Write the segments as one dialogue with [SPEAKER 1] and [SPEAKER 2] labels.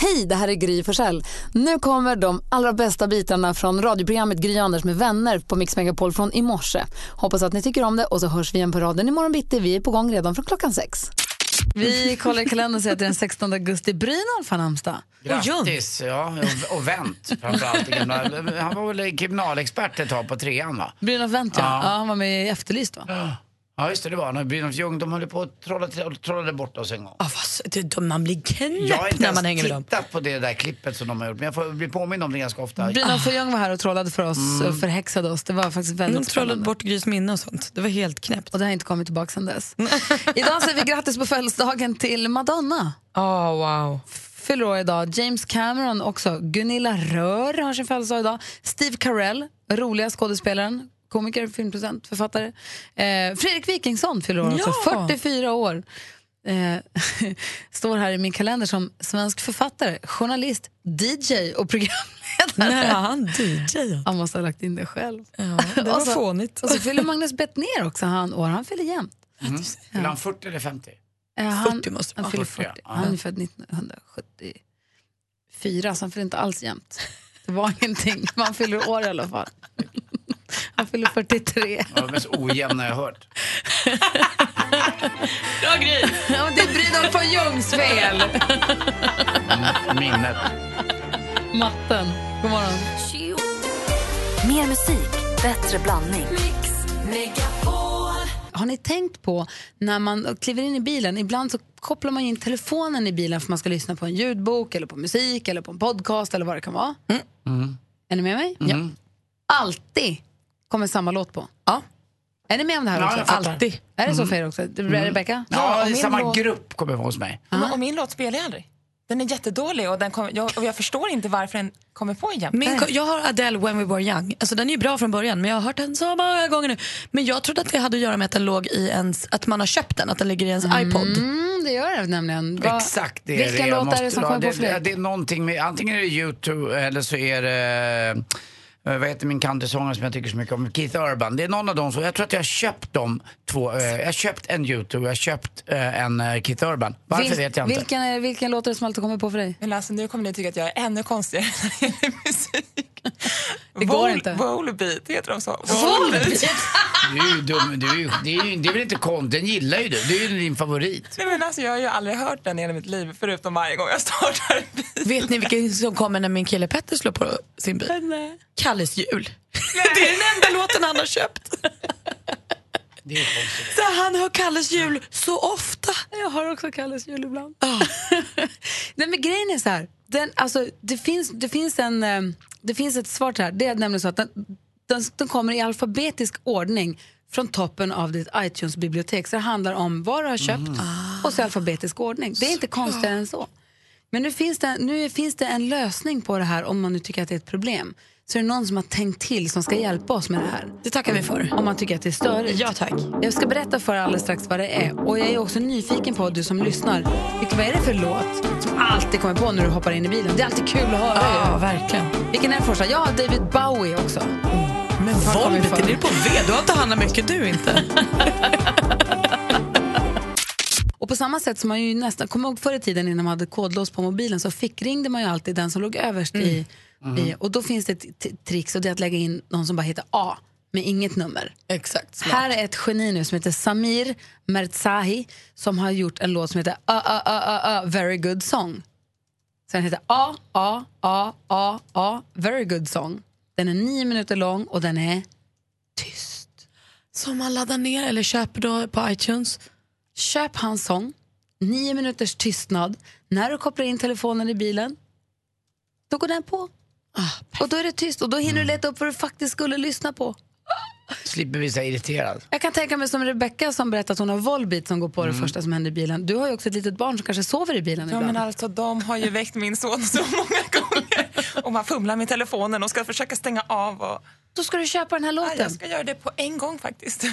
[SPEAKER 1] Hej, det här är Gry Forssell. Nu kommer de allra bästa bitarna från radioprogrammet Gry Anders med vänner på Mix Megapol från i morse. Hoppas att ni tycker om det och så hörs vi igen på raden imorgon bitti. Vi är på gång redan från klockan sex. Vi kollar i kalendern och ser att det är den 16 augusti. Brynolf har namnsdag. Och Ljung.
[SPEAKER 2] Grattis, ja. Och, och vänt framförallt. Gamla- Han var väl kriminalexpert ett tag på trean va?
[SPEAKER 1] Brynolf Wendt, ja.
[SPEAKER 2] Ja.
[SPEAKER 1] ja. Han var med i Efterlyst, va?
[SPEAKER 2] Ja just det, det var han. Brynolf Ljung, de höll ju på att trolla, till- trollade bort oss en gång.
[SPEAKER 3] Ah, vad, s- det- de- man blir
[SPEAKER 2] Jag har
[SPEAKER 3] knäpp
[SPEAKER 2] inte
[SPEAKER 3] när man hänger
[SPEAKER 2] ens
[SPEAKER 3] med dem.
[SPEAKER 2] tittat på det där klippet som de har gjort, men jag får bli påmind om det ganska ofta.
[SPEAKER 1] Brynolf och Ljung var här och trollade för oss
[SPEAKER 2] Mm.
[SPEAKER 1] och förhäxade oss. Det var faktiskt väldigt
[SPEAKER 3] De trollade
[SPEAKER 1] spännande.
[SPEAKER 3] bort Grys minne och sånt. Det var helt knäppt.
[SPEAKER 1] Och det har inte kommit tillbaka sedan dess. Idag säger vi grattis på födelsedagen till Madonna.
[SPEAKER 3] Ah wow.
[SPEAKER 1] fyller år idag. James Cameron också. Gunilla Rör har sin födelsedag idag. Steve Carell, roliga skådespelaren, komiker, filmproducent, författare. Eh, Fredrik Wikingsson fyller år också,
[SPEAKER 3] Ja.
[SPEAKER 1] 44 år. Eh, står här i min kalender som svensk författare, journalist, DJ och programledare.
[SPEAKER 3] När var han DJ?
[SPEAKER 1] Han måste ha lagt in det själv.
[SPEAKER 3] Ja, det
[SPEAKER 1] Och
[SPEAKER 3] var
[SPEAKER 1] så-
[SPEAKER 3] fånigt.
[SPEAKER 1] Och så fyller Magnus Bettner också han år. Han fyller jämt.
[SPEAKER 2] Fyllde han 40 eller 50?
[SPEAKER 1] Eh, han,
[SPEAKER 3] 40 måste det
[SPEAKER 1] han
[SPEAKER 3] vara.
[SPEAKER 1] fyller
[SPEAKER 2] 40,
[SPEAKER 1] 40.
[SPEAKER 2] ja.
[SPEAKER 1] Han är född 1974, så han fyller inte alls jämnt. Det var ingenting. Man fyller år i alla fall. Han fyller 43.
[SPEAKER 2] Det var det mest ojämna jag hört.
[SPEAKER 3] Bra Gry!
[SPEAKER 1] Ja, men det är Brynolf från Ljungs fel.
[SPEAKER 2] Minnet.
[SPEAKER 1] Matten. God morgon.
[SPEAKER 4] Mer musik, bättre blandning.
[SPEAKER 1] Har ni tänkt på när man kliver in i bilen, ibland så kopplar man in telefonen i bilen för man ska lyssna på en ljudbok eller på musik eller på en podcast eller vad det kan vara.
[SPEAKER 2] Mm.
[SPEAKER 1] Är ni med mig?
[SPEAKER 3] Mm.
[SPEAKER 1] Ja. Alltid kommer samma låt på.
[SPEAKER 3] Ja.
[SPEAKER 1] Är ni med om det här
[SPEAKER 2] Ja,
[SPEAKER 1] också?
[SPEAKER 2] jag fattar. Mm.
[SPEAKER 3] Alltid. Mm.
[SPEAKER 1] Är det så för er också? Rebecka?
[SPEAKER 2] Ja,
[SPEAKER 5] och
[SPEAKER 2] i
[SPEAKER 5] min
[SPEAKER 2] samma
[SPEAKER 5] låt-
[SPEAKER 2] grupp kommer jag ihåg hos mig.
[SPEAKER 1] Ah.
[SPEAKER 5] Men, och min låt spelar jag aldrig. Den är jättedålig och, den kom, jag, och jag förstår inte varför den kommer på igen.
[SPEAKER 3] Min, ko- jag har Adele When We Were Young. Alltså, den är ju bra från början, men jag har hört den så många gånger nu. Men jag trodde att det hade att göra med att, den låg i ens, att man har köpt den, att den ligger i ens iPod.
[SPEAKER 1] Mm, det gör det nämligen. Vad-
[SPEAKER 2] Exakt det är
[SPEAKER 1] Vilken
[SPEAKER 2] det.
[SPEAKER 1] låt
[SPEAKER 2] Jag
[SPEAKER 1] är det som
[SPEAKER 2] dra-
[SPEAKER 1] kommer på
[SPEAKER 2] det,
[SPEAKER 1] för dig?
[SPEAKER 2] det, det är någonting med, antingen är det YouTube eller så är det eh, vad heter min countrysångare som jag tycker så mycket om? Keith Urban. Det är någon av dem. Som, jag tror att jag har köpt de två. eh, Jag har köpt en YouTube och jag har köpt eh, en eh, Keith Urban. Varför
[SPEAKER 1] Vil-
[SPEAKER 2] vet jag inte.
[SPEAKER 1] Vilken, är, vilken låt är det som alltid kommer på för dig?
[SPEAKER 5] Men alltså, nu kommer ni tycka att jag är ännu konstigare när det gäller musik.
[SPEAKER 1] Det går inte.
[SPEAKER 5] Volbeat, heter de så?
[SPEAKER 2] Du är ju dum. Du är ju, det, är ju, det är väl inte konstigt. Den gillar ju du. Det är ju din favorit.
[SPEAKER 5] Nej, men alltså, jag har ju aldrig hört den i hela mitt liv förutom varje gång jag startar en bil.
[SPEAKER 3] Vet ni vilken som kommer när min kille Petter slår på sin bil? Kalles jul. Det är den enda låten han har köpt.
[SPEAKER 2] Det är ju konstigt.
[SPEAKER 3] Så han hör Kalles jul så ofta.
[SPEAKER 1] Jag har också Kalles jul ibland. Nej, men grejen är så här. Den, alltså, det, finns, det, finns en, eh, det finns ett svar till det här. Det är nämligen så att den, den, den kommer i alfabetisk ordning från toppen av ditt iTunes-bibliotek. Så det handlar om vad du har köpt och så i alfabetisk ordning. Det är inte konstigare än så. Men nu finns, det, nu finns det en lösning på det här om man nu tycker att det är ett problem. Så är det någon som har tänkt till som ska hjälpa oss med det här.
[SPEAKER 3] Det tackar vi för.
[SPEAKER 1] Om man tycker att det är störigt.
[SPEAKER 3] Ja tack.
[SPEAKER 1] Jag ska berätta för er alldeles strax vad det är. Och jag är också nyfiken på, du som lyssnar, vilken, vad är det för låt som alltid kommer på när du hoppar in i bilen? Det är alltid kul att höra
[SPEAKER 3] Ja,
[SPEAKER 1] ju.
[SPEAKER 3] verkligen. Mm.
[SPEAKER 1] Vilken är den första? Ja, David Bowie också.
[SPEAKER 3] Men
[SPEAKER 1] kom vi
[SPEAKER 3] Volbeat,
[SPEAKER 1] ifrån?
[SPEAKER 3] är du på V? Du har inte handlat mycket du inte.
[SPEAKER 1] Och på samma sätt som man ju nästan, kommer ihåg förr i tiden innan man hade kodlås på mobilen så fickringde man ju alltid den som låg överst i, i. Och då finns det ett t- trix och det är att lägga in någon som bara heter A med inget nummer.
[SPEAKER 3] Exakt.
[SPEAKER 1] Här är ett geni nu som heter Samir Merzahi som har gjort en låt som heter A, A, A, A, A, Very Good Song. Så den heter A, A, A, A, A, Very Good Song. Den är nio minuter lång och den är tyst.
[SPEAKER 3] Som man laddar ner eller köper då på iTunes.
[SPEAKER 1] Köp hans sång, nio minuters tystnad. När du kopplar in telefonen i bilen, då går den på.
[SPEAKER 5] Ah,
[SPEAKER 1] Och då är det tyst och då hinner
[SPEAKER 5] Mm.
[SPEAKER 1] du leta upp vad du faktiskt skulle lyssna på.
[SPEAKER 2] Slipper bli så här irriterad.
[SPEAKER 1] Jag kan tänka mig som Rebecca som berättade att hon har Volbeat som går på det första som händer i bilen. Du har ju också ett litet barn som kanske sover i bilen
[SPEAKER 5] Mm. Ja, men
[SPEAKER 1] ibland.
[SPEAKER 5] alltså, de har ju väckt min son så många gånger. Och man fumlar med telefonen och ska försöka stänga av. Och...
[SPEAKER 1] Då ska du köpa den här
[SPEAKER 5] Ja,
[SPEAKER 1] låten.
[SPEAKER 5] Ah, jag ska göra det på en gång faktiskt.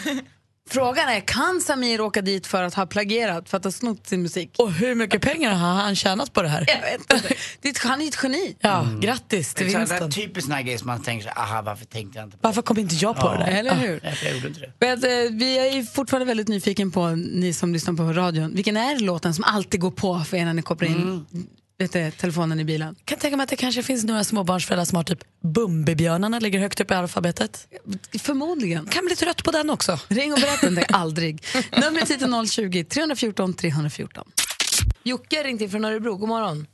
[SPEAKER 1] Frågan är, kan Samir åka dit för att ha plagierat, för att ha snott sin musik?
[SPEAKER 3] Och hur mycket pengar har han tjänat på det här?
[SPEAKER 1] Jag vet inte. Det är ett- Han är ett geni.
[SPEAKER 3] Ja, grattis till
[SPEAKER 2] Mm. Det är så här,
[SPEAKER 3] vinsten.
[SPEAKER 2] typiskt sån här grej som man tänker så här, aha varför tänkte jag inte på det?
[SPEAKER 3] Varför kom inte jag på det där?
[SPEAKER 1] Eller hur?
[SPEAKER 2] Nej, för Jag gjorde inte det.
[SPEAKER 1] Men, eh, vi är ju fortfarande väldigt nyfiken på, ni som lyssnar på radion, vilken är låten som alltid går på för er när ni kopplar in vet du, telefonen i bilen.
[SPEAKER 3] kan tänka mig att det kanske finns några småbarnsföräldrar som har typ Bumbibjörnarna ligger högt upp i alfabetet.
[SPEAKER 1] Förmodligen.
[SPEAKER 3] Kan bli trött på den också.
[SPEAKER 1] Ring och berätta om det, aldrig. Numret hit är 020 314 314. Jocke har ringt in från Örebro. God morgon.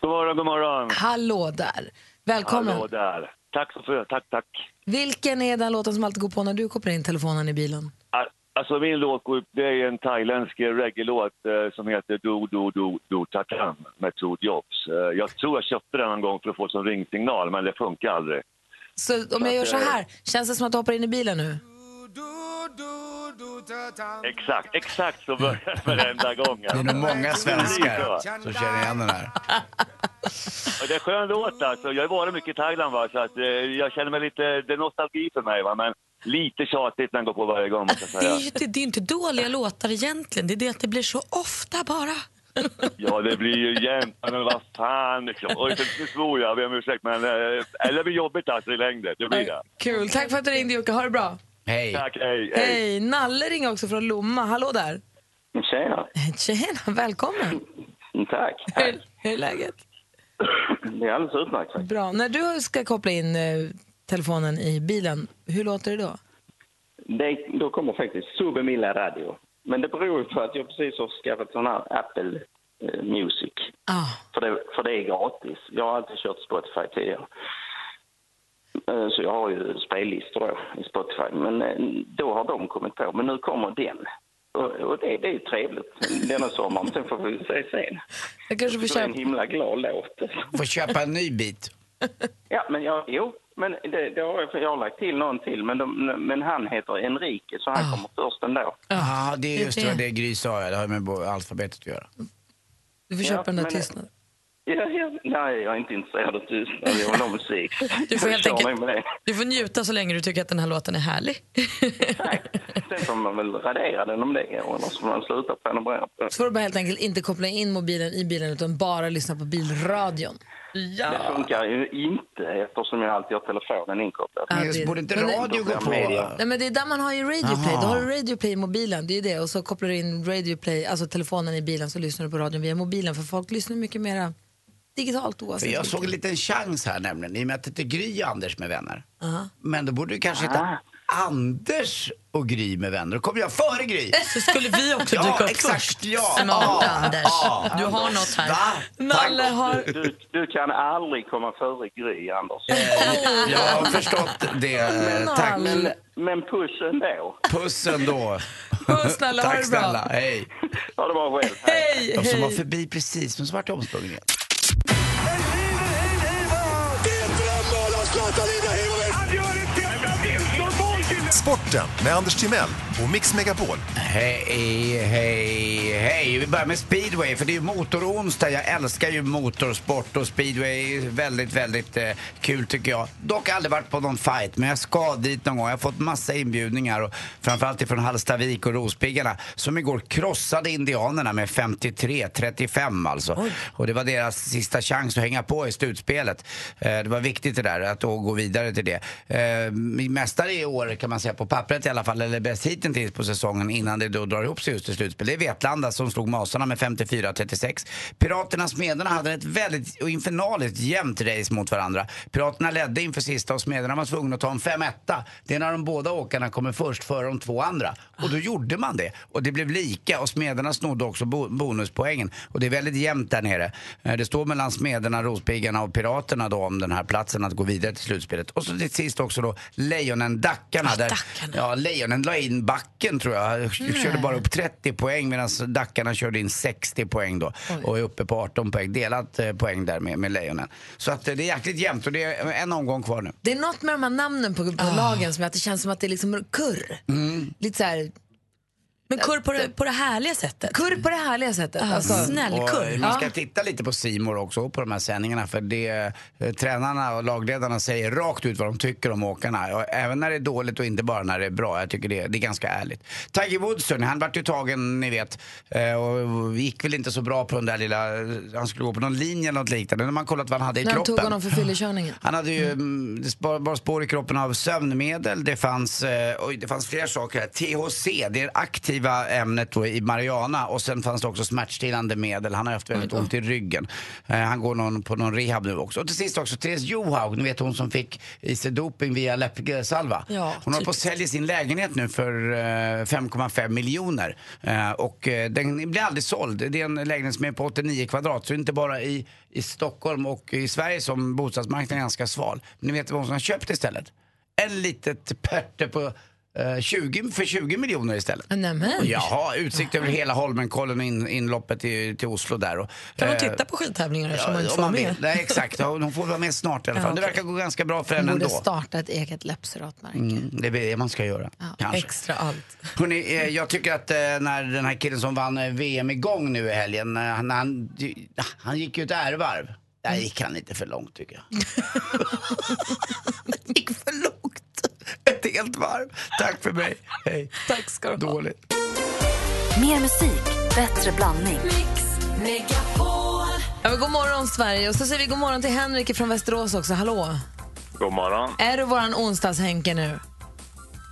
[SPEAKER 6] God morgon, god morgon.
[SPEAKER 1] Hallå där. Välkommen.
[SPEAKER 6] Hallå där. Tack så mycket, tack, tack.
[SPEAKER 1] Vilken är den låten som alltid går på när du kopplar in telefonen i bilen?
[SPEAKER 6] Ah, Alltså min låt går upp, det är en thailändsk reggae-låt eh, som heter Do Do Do Do Tatam med Tord Jobs. Eh, jag tror jag köpte den en gång för att få som ringsignal, men det funkar aldrig.
[SPEAKER 1] Så om jag gör så här, känns det som att du hoppar in i bilen nu?
[SPEAKER 6] Exakt, exakt så börjar det varenda gång.
[SPEAKER 2] Det är nog många svenskar
[SPEAKER 6] Precis så.
[SPEAKER 2] som känner igen den här.
[SPEAKER 6] Och det är en skön låt alltså. Jag har varit mycket i Thailand va, så att, eh, jag känner mig lite, det är nostalgi för mig va, men lite tjatigt när den går på varje gång måste jag
[SPEAKER 3] Det är
[SPEAKER 6] säga.
[SPEAKER 3] ju det, det är inte dåliga låtar egentligen, det är det att det blir så ofta bara.
[SPEAKER 6] Ja, det blir ju jämnt. Men vad fan liksom. Oj, nu svor jag, jag ber om ursäkt. Men, eh, eller det blir jobbigt alltså i längden. Det blir det.
[SPEAKER 1] Kul, tack för att du ringde Jocke, ha det bra.
[SPEAKER 2] Hej.
[SPEAKER 6] Tack, hej, hej.
[SPEAKER 1] Hej, Nalle ringer också från Lomma, hallå där.
[SPEAKER 4] Tjena.
[SPEAKER 1] Tjena, välkommen.
[SPEAKER 4] Tack.
[SPEAKER 1] Hur, hur är läget?
[SPEAKER 4] Det är alldeles utmärkt. faktiskt.
[SPEAKER 1] Bra, när du ska koppla in eh, telefonen i bilen, hur låter det då?
[SPEAKER 4] Det, då kommer faktiskt Subemilla Radio. Men det beror ju på att jag precis har skaffat sån här Apple eh, Music.
[SPEAKER 1] Ah,
[SPEAKER 4] För det, för det är gratis. Jag har alltid kört Spotify tidigare. Eh, Så jag har ju spellistor då i Spotify. Men eh, då har de kommit på. Men nu kommer den. Och, och det, det är ju trevligt denna sommaren. Sen får vi se sen.
[SPEAKER 1] jag kanske får
[SPEAKER 4] Det är en
[SPEAKER 1] köpa...
[SPEAKER 4] himla glad låt.
[SPEAKER 2] Får köpa en ny bit.
[SPEAKER 4] Ja, men jag, jo, men det, det har jag, för jag har lagt till någon till. Men, de, men han heter Enrique, så han kommer först ändå.
[SPEAKER 2] Ah. Ja, det är just
[SPEAKER 1] det.
[SPEAKER 2] det, det Gry sa. ja. Det har ju med bo- alfabetet att göra.
[SPEAKER 1] Du får köpa den där
[SPEAKER 4] men-
[SPEAKER 1] tystnaden.
[SPEAKER 4] Ja, ja, nej, jag är inte intresserad av tystnad. Jag vill ha musik.
[SPEAKER 3] Du får
[SPEAKER 4] Jag
[SPEAKER 3] helt
[SPEAKER 4] kör
[SPEAKER 3] enkelt-
[SPEAKER 4] mig Med det.
[SPEAKER 3] Du får njuta så länge du tycker att den här låten är härlig.
[SPEAKER 4] Sen får man väl radera den om det är, eller så får man sluta prenumerera på den.
[SPEAKER 1] Så får du bara helt enkelt inte koppla in mobilen i bilen utan bara lyssna på bilradion.
[SPEAKER 4] Det funkar ju inte eftersom jag alltid har telefonen inkopplad.
[SPEAKER 1] Ja,
[SPEAKER 2] Men
[SPEAKER 1] det-
[SPEAKER 2] Borde inte
[SPEAKER 1] men det-
[SPEAKER 2] radio gå på?
[SPEAKER 4] Media.
[SPEAKER 1] Nej, men det är där man har ju Radio Play. Då har du Radio Play i mobilen, det är ju det. Och så kopplar du in Radio Play, alltså telefonen i bilen, så lyssnar du på radion via mobilen. För folk lyssnar mycket mer digitalt
[SPEAKER 2] För
[SPEAKER 1] oavsett.
[SPEAKER 2] jag
[SPEAKER 1] vilket.
[SPEAKER 2] såg en liten chans här nämligen, i och med att det är Gry och Anders med vänner. Men då borde du kanske heta Anders och Gry med vänner. Då kommer jag före Gry!
[SPEAKER 3] Så skulle vi också dyka upp
[SPEAKER 2] Ja,
[SPEAKER 3] först.
[SPEAKER 2] exakt! Ja!
[SPEAKER 3] Smart
[SPEAKER 2] Ja.
[SPEAKER 3] Anders.
[SPEAKER 2] Ja.
[SPEAKER 3] Du har något här.
[SPEAKER 1] Ah.
[SPEAKER 2] Va?
[SPEAKER 1] Nalle har...
[SPEAKER 4] Du, du kan aldrig komma före Gry, Anders.
[SPEAKER 1] Eh,
[SPEAKER 2] Jag har förstått det. eh, Tack.
[SPEAKER 1] Nalle.
[SPEAKER 4] Men puss ändå.
[SPEAKER 2] Puss ändå.
[SPEAKER 1] Puss, snälla, ha det
[SPEAKER 2] Tack
[SPEAKER 1] bra.
[SPEAKER 2] snälla. Hej.
[SPEAKER 4] Ha det bra själv.
[SPEAKER 1] Hej,
[SPEAKER 2] De som var
[SPEAKER 1] hej.
[SPEAKER 2] förbi precis, men så vart det omsprungen igen.
[SPEAKER 7] Sporten med Anders Timell och Mix Megapol.
[SPEAKER 2] Hej, hej, hej. Vi börjar med speedway, för det är ju motoronsdag. Jag älskar ju motorsport och speedway är väldigt, väldigt eh, kul tycker jag. Dock aldrig varit på någon fight, men jag ska dit någon gång. Jag har fått massa inbjudningar, och framförallt ifrån Hallstavik och Rospiggarna som igår krossade Indianerna med 53-35 alltså. Och det var deras sista chans att hänga på i slutspelet. Eh, det var viktigt det där, att då gå vidare till det. Eh, min mästare i år kan man säga på pappret i alla fall, eller bäst hittills på säsongen innan det då drar ihop sig just till slutspel. Det är Vetlanda som slog Masarna med 54-36. Piraterna och Smederna hade ett väldigt och infernaliskt jämnt race mot varandra. Piraterna ledde inför sista och Smederna var tvungna att ta en 5-1. Det är när de båda åkarna kommer först före de två andra. Och då gjorde man det. Och det blev lika och Smederna snodde också bo- bonuspoängen. Och det är väldigt jämnt där nere. Eh, Det står mellan Smederna, Rospiggarna och Piraterna då om den här platsen att gå vidare till slutspelet. Och så till sist också då Lejonen, Dackarna. där,
[SPEAKER 3] Dackarna.
[SPEAKER 2] Ja, Lejonen la in backen tror jag. Körde bara upp 30 poäng medan Dackarna körde in 60 poäng då. Och är uppe på 18 poäng. Delat eh, poäng där med, med Lejonen. Så att eh, det är jäkligt jämnt och det är en omgång kvar nu.
[SPEAKER 1] Det är något med de här namnen på,
[SPEAKER 2] Ah.
[SPEAKER 1] på lagen som att det känns som att det är liksom kurr.
[SPEAKER 2] Mm.
[SPEAKER 1] Lite så här,
[SPEAKER 3] Men kurr på det, på det härliga sättet.
[SPEAKER 1] kurr på det härliga sättet. Alltså,
[SPEAKER 2] Och eh,
[SPEAKER 3] Snällkurr.
[SPEAKER 2] man ska titta lite på Simor också och på de här sändningarna för det eh, tränarna och lagledarna säger rakt ut vad de tycker om åkarna. Och Även när det är dåligt och inte bara när det är bra. Jag tycker det, det är ganska ärligt. Tiger Woods, hörni, han vart ju tagen, ni vet, eh, och gick väl inte så bra på den där lilla, eh, han skulle gå på någon linje eller något liknande. När man kollat vad han hade i
[SPEAKER 1] när de
[SPEAKER 2] kroppen.
[SPEAKER 1] tog honom för fyllekörningen.
[SPEAKER 2] Han hade ju mm. det spar- bara spår i kroppen av sömnmedel. Det fanns, eh, oj, det fanns fler saker här. THC, det är aktiv aktiva ämnet då i Mariana och sen fanns det också smärtstillande medel. Han har haft väldigt ont i ryggen. Eh, han går någon, på någon rehab nu också. Och till sist också Therese Johaug, ni vet hon som fick i sig doping via läppsalva.
[SPEAKER 3] Ja,
[SPEAKER 2] hon håller på att sälja sin lägenhet nu för eh, 5,5 miljoner. Eh, och eh, den blir aldrig såld. Det är en lägenhet som är på 89 kvadrat. Så det är inte bara i, i Stockholm och i Sverige som bostadsmarknaden är ganska sval. Men ni vet vad hon har köpt istället? En litet pärte på eh, 20, för 20 miljoner istället.
[SPEAKER 1] Nämen.
[SPEAKER 2] Jaha, utsikt över hela Holmenkollen och in, inloppet till, till Oslo där. Och,
[SPEAKER 1] Kan hon
[SPEAKER 2] eh,
[SPEAKER 1] titta på skidtävlingar
[SPEAKER 2] ja,
[SPEAKER 1] eftersom hon inte
[SPEAKER 2] om
[SPEAKER 1] får vara
[SPEAKER 2] man vill.
[SPEAKER 1] med?
[SPEAKER 2] Nej, exakt. Ja, Hon får vara med snart i alla fall.
[SPEAKER 1] Ja,
[SPEAKER 2] Det verkar gå ganska bra för
[SPEAKER 1] Hon
[SPEAKER 2] henne
[SPEAKER 1] borde
[SPEAKER 2] ändå.
[SPEAKER 1] starta ett eget läppseratmärke.
[SPEAKER 2] Mm, det är det man ska göra.
[SPEAKER 1] Ja,
[SPEAKER 2] kanske.
[SPEAKER 1] extra allt.
[SPEAKER 2] Hörrni, eh, jag tycker att eh, när den här killen som vann eh, VM igång nu i helgen, eh, han, han, han gick ju ett ärevarv.
[SPEAKER 1] Mm.
[SPEAKER 2] Där gick han lite för långt tycker jag. Han gick för långt. Ett helt varv. Tack för mig. Hej. Tack ska du Dåligt.
[SPEAKER 8] Mer musik, bättre blandning.
[SPEAKER 1] Ja, men god morgon Sverige och så säger vi god morgon till Henrik från Västerås också. Hallå!
[SPEAKER 6] God morgon.
[SPEAKER 1] Är du våran onsdags-Henke nu?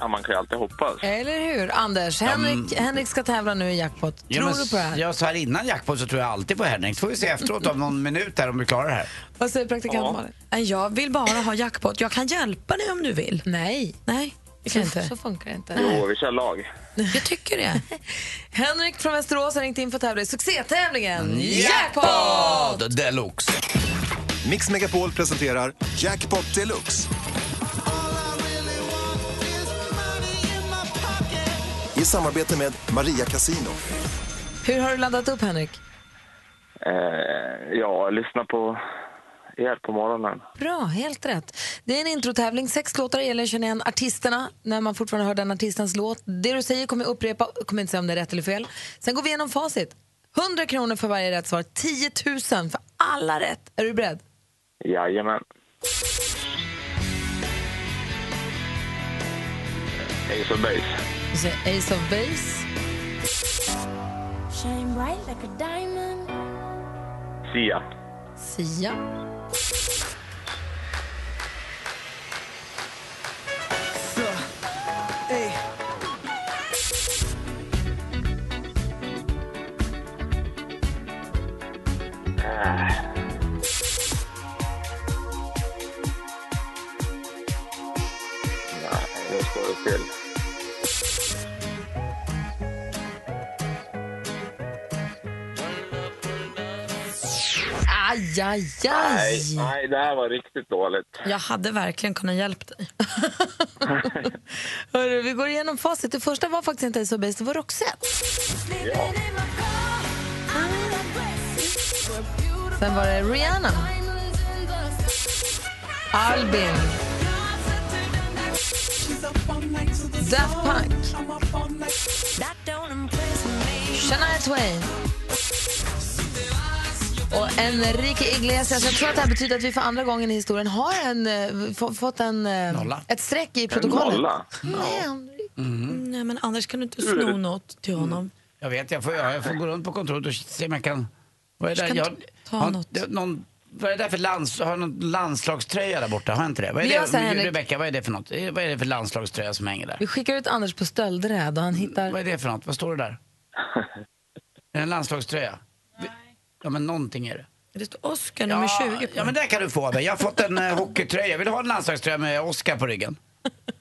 [SPEAKER 6] Ja, man kan ju alltid hoppas.
[SPEAKER 1] Eller hur? Anders, Henrik, Henrik ska tävla nu i jackpot.
[SPEAKER 2] Ja,
[SPEAKER 1] Tror
[SPEAKER 2] men
[SPEAKER 1] du på det här?
[SPEAKER 2] Ja, så här innan jackpot så tror jag alltid på Henrik. Så får vi se efteråt om någon minut här om vi klarar det här.
[SPEAKER 1] Vad säger praktikant Malin?
[SPEAKER 3] Nej, Jag vill bara ha jackpot. Jag kan hjälpa dig om du vill.
[SPEAKER 1] Nej,
[SPEAKER 3] Nej, det kan
[SPEAKER 1] så,
[SPEAKER 3] jag inte.
[SPEAKER 1] så funkar det inte.
[SPEAKER 6] Jo, vi kör lag.
[SPEAKER 3] Jag tycker det.
[SPEAKER 1] Henrik från Västerås har ringt in för att tävla i
[SPEAKER 2] Mm.
[SPEAKER 1] succétävlingen Jackpot!
[SPEAKER 2] Jackpot deluxe.
[SPEAKER 9] Mix Megapol presenterar Jackpot Deluxe. I samarbete med Maria Casino.
[SPEAKER 1] Hur har du laddat upp Henrik?
[SPEAKER 6] Eh, ja, lyssna på er på morgonen.
[SPEAKER 1] Bra, helt rätt. Det är en introtävling. Sex låtar gäller. Känner igen artisterna när man fortfarande hör den artistens låt. Det du säger kommer jag upprepa. Jag kommer inte säga om det är rätt eller fel. Sen går vi igenom facit. 100 kronor för varje rätt svar. 10 000 för alla rätt. Är du beredd?
[SPEAKER 6] Jajamän. Ace of Base.
[SPEAKER 1] Vi säger Ace of Base.
[SPEAKER 6] Sia.
[SPEAKER 1] Sia.
[SPEAKER 6] Eh, Nej, nu står det still.
[SPEAKER 1] Aj, aj,
[SPEAKER 6] Nej,
[SPEAKER 1] aj.
[SPEAKER 6] nej, det här var riktigt dåligt.
[SPEAKER 3] Jag hade verkligen kunnat hjälpa dig.
[SPEAKER 1] Hörru, vi går igenom facit. Det första var faktiskt inte Ace of Base, det var Roxette. Sen var det Rihanna. Albin. Daft Punk. Shania Twain. Och Enrique Iglesias. Jag tror att det här betyder att vi för andra gången i historien har en, eh, f- fått en, eh,
[SPEAKER 2] Nolla.
[SPEAKER 1] ett streck i protokollet.
[SPEAKER 6] nolla?
[SPEAKER 1] Nej, Henrik.
[SPEAKER 2] Mm.
[SPEAKER 3] Nej, men Anders kan du inte sno något till honom?
[SPEAKER 2] Jag vet, jag får, jag får gå runt på kontoret och se om jag kan... Vad är det där?
[SPEAKER 3] Ska
[SPEAKER 2] Jag,
[SPEAKER 3] inte ta
[SPEAKER 2] har,
[SPEAKER 3] något.
[SPEAKER 2] det- Någon, vad är det där för lands, har jag någon landslagströja där borta? Har jag inte det? Vad är
[SPEAKER 1] Vill jag
[SPEAKER 2] det?
[SPEAKER 1] säga, Henrik?
[SPEAKER 2] Rebecka, vad är det för något? Eh, Vad är det för landslagströja som hänger där?
[SPEAKER 1] Vi skickar ut Anders på stöldräd och han hittar...
[SPEAKER 2] Vad är det för något? Vad står det där? är det en landslagströja? Nej. Ja, men någonting är det.
[SPEAKER 3] Det står Oscar nummer 20 på.
[SPEAKER 2] ja, men det kan du få av mig. Jag har fått en eh, hockeytröja. Vill du ha en landslagströja med Oscar på ryggen?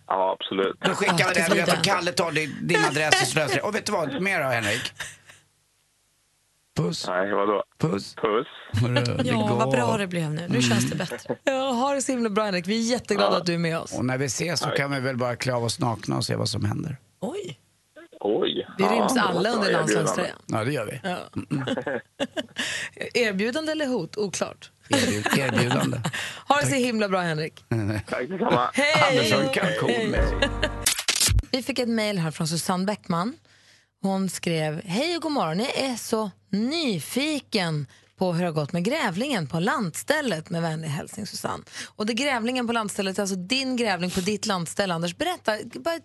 [SPEAKER 6] Ja, absolut.
[SPEAKER 2] Då skickar vi den.
[SPEAKER 3] det
[SPEAKER 2] Du vet,
[SPEAKER 3] blir
[SPEAKER 2] och Kalle tar din, din adress och så löser det. Och vet du vad? Mer då, Henrik? Puss,
[SPEAKER 6] Nej, vadå?
[SPEAKER 2] puss.
[SPEAKER 6] Puss.
[SPEAKER 2] Hörru, det
[SPEAKER 3] Ja, vad
[SPEAKER 2] går. Mm.
[SPEAKER 3] bra det blev nu. Nu känns det bättre.
[SPEAKER 1] Ja, ha det så himla bra Henrik. Vi är jätteglada att du är med oss.
[SPEAKER 2] Och när vi ses så kan vi väl bara klä av oss nakna och se vad som händer.
[SPEAKER 3] Oj.
[SPEAKER 6] Oj.
[SPEAKER 1] Vi ryms
[SPEAKER 6] det var
[SPEAKER 1] alla
[SPEAKER 6] ett
[SPEAKER 1] under
[SPEAKER 6] bra erbjudande.
[SPEAKER 1] landslagströjan.
[SPEAKER 2] Ja, det gör vi. Mm,
[SPEAKER 1] Erbjudande eller hot? Oklart.
[SPEAKER 2] Erbjud, erbjudande.
[SPEAKER 1] Ha det så himla bra Henrik.
[SPEAKER 6] Tack detsamma.
[SPEAKER 2] Anders har en kalkon med sig.
[SPEAKER 1] Vi fick ett mejl här från Susanne Bäckman. Hon skrev, hej och god morgon, jag är så nyfiken på hur det har gått med grävlingen på lantstället med vänlig hälsning Susanne. Och det grävlingen på lantstället, alltså din grävling på ditt lantställe Anders, berätta bara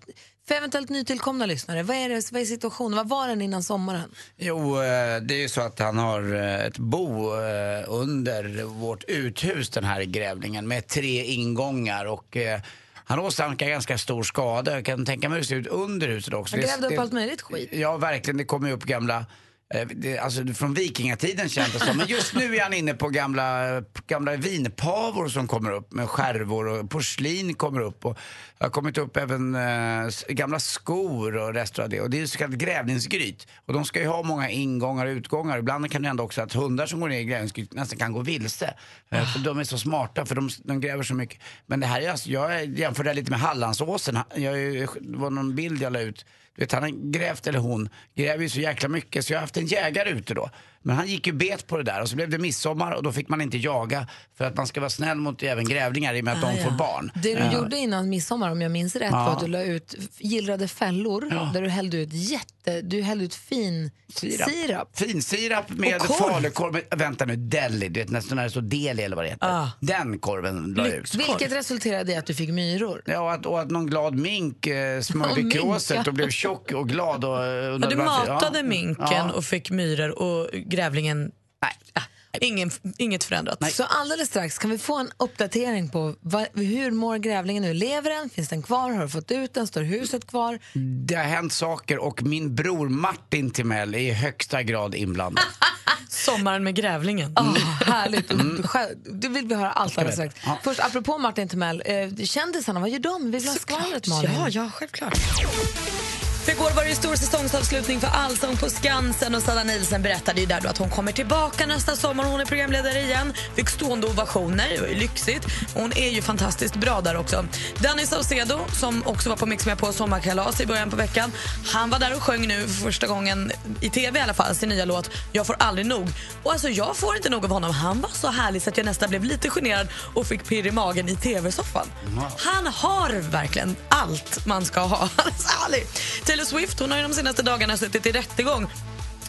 [SPEAKER 1] för eventuellt nytillkomna lyssnare, vad är, det, vad är situationen, vad var den innan sommaren?
[SPEAKER 2] Jo, eh, det är ju så att han har eh, ett bo eh, under vårt uthus, den här grävlingen, med tre ingångar. Och eh, Han åsamkar ganska stor skada. Jag kan tänka mig hur det ser ut under huset också.
[SPEAKER 1] Han
[SPEAKER 2] Det-
[SPEAKER 1] grävde upp
[SPEAKER 2] det-
[SPEAKER 1] allt möjligt skit.
[SPEAKER 2] Ja, verkligen. Det kommer ju upp gamla... eh, Det, alltså från vikingatiden känns det som. Men just nu är han inne på gamla, gamla vinpavor som kommer upp med skärvor och porslin kommer upp. Och det har kommit upp även eh, s- gamla skor och rester av det. Och det är ju så kallat grävlingsgryt. Och de ska ju ha många ingångar och utgångar. Ibland kan det hända också att hundar som går ner i grävlingsgryt nästan kan gå vilse. Eh, För de är så smarta för de, de gräver så mycket. Men det här är alltså, jag är- jämför det här lite med Hallandsåsen. Jag, är ju- det var någon bild jag la ut. Du vet, han har grävt, eller hon, gräver ju så jäkla mycket så jag har haft en jägare ute då. Men han gick ju bet på det där och så blev det midsommar och då fick man inte jaga för att man ska vara snäll mot även grävlingar i och med att de får barn.
[SPEAKER 1] Ah,
[SPEAKER 2] Eh.
[SPEAKER 1] Det du gjorde innan midsommar, om jag minns rätt, var att du la ut gillrade fällor där du hällde ut jätte... Du hällde ut fin sirap.
[SPEAKER 2] Finsirap med
[SPEAKER 1] Och korv.
[SPEAKER 2] falukorv. med- Vänta nu, deli, du vet nästan när det står deli eller vad det
[SPEAKER 1] Ah.
[SPEAKER 2] heter.
[SPEAKER 3] Ah.
[SPEAKER 2] Den korven la jag ut.
[SPEAKER 1] Vilket resulterade i att du fick myror.
[SPEAKER 2] Ja, och att, och att någon glad mink eh,
[SPEAKER 1] Och
[SPEAKER 2] smörjde
[SPEAKER 1] mink,
[SPEAKER 2] kråset
[SPEAKER 1] ja.
[SPEAKER 2] och blev tjock och glad. Och, eh,
[SPEAKER 3] Ja,
[SPEAKER 2] undrade
[SPEAKER 3] du
[SPEAKER 2] varför.
[SPEAKER 3] matade
[SPEAKER 2] Ja.
[SPEAKER 3] minken
[SPEAKER 2] Ja.
[SPEAKER 3] och fick myror och grävlingen... Nej, ja, ingen, inget förändrat.
[SPEAKER 1] Så alldeles strax kan vi få en uppdatering på vad, hur mår grävlingen nu? Lever den? Finns den kvar? Har du fått ut den? Står huset kvar?
[SPEAKER 2] Det har hänt saker och min bror Martin Timell är i högsta grad inblandad.
[SPEAKER 3] Sommaren med grävlingen.
[SPEAKER 2] Mm.
[SPEAKER 1] Ah, härligt. Själv- Det vill vi höra allt alldeles strax. Först, apropå Martin Timell, eh, kändisarna, vad gör de? Vi vill ha skvallret, Malin.
[SPEAKER 3] Ja, ja, självklart. För igår var det ju stor säsongsavslutning för Allsång på Skansen och Sanna Nielsen berättade ju där då att hon kommer tillbaka nästa sommar och hon är programledare igen. Fick stående ovationer, det var ju lyxigt. Hon är ju fantastiskt bra där också. Danny Saucedo, som också var på Mix med på sommarkalas i början på veckan, han var där och sjöng nu för första gången i tv i alla fall sin nya låt Jag får aldrig nog. Och alltså jag får inte nog av honom. Han var så härlig så att jag nästan blev lite generad och fick pirr i magen i tv-soffan. Han har verkligen allt man ska ha. Han är så härlig. Taylor Swift hon har ju de senaste dagarna suttit i rättegång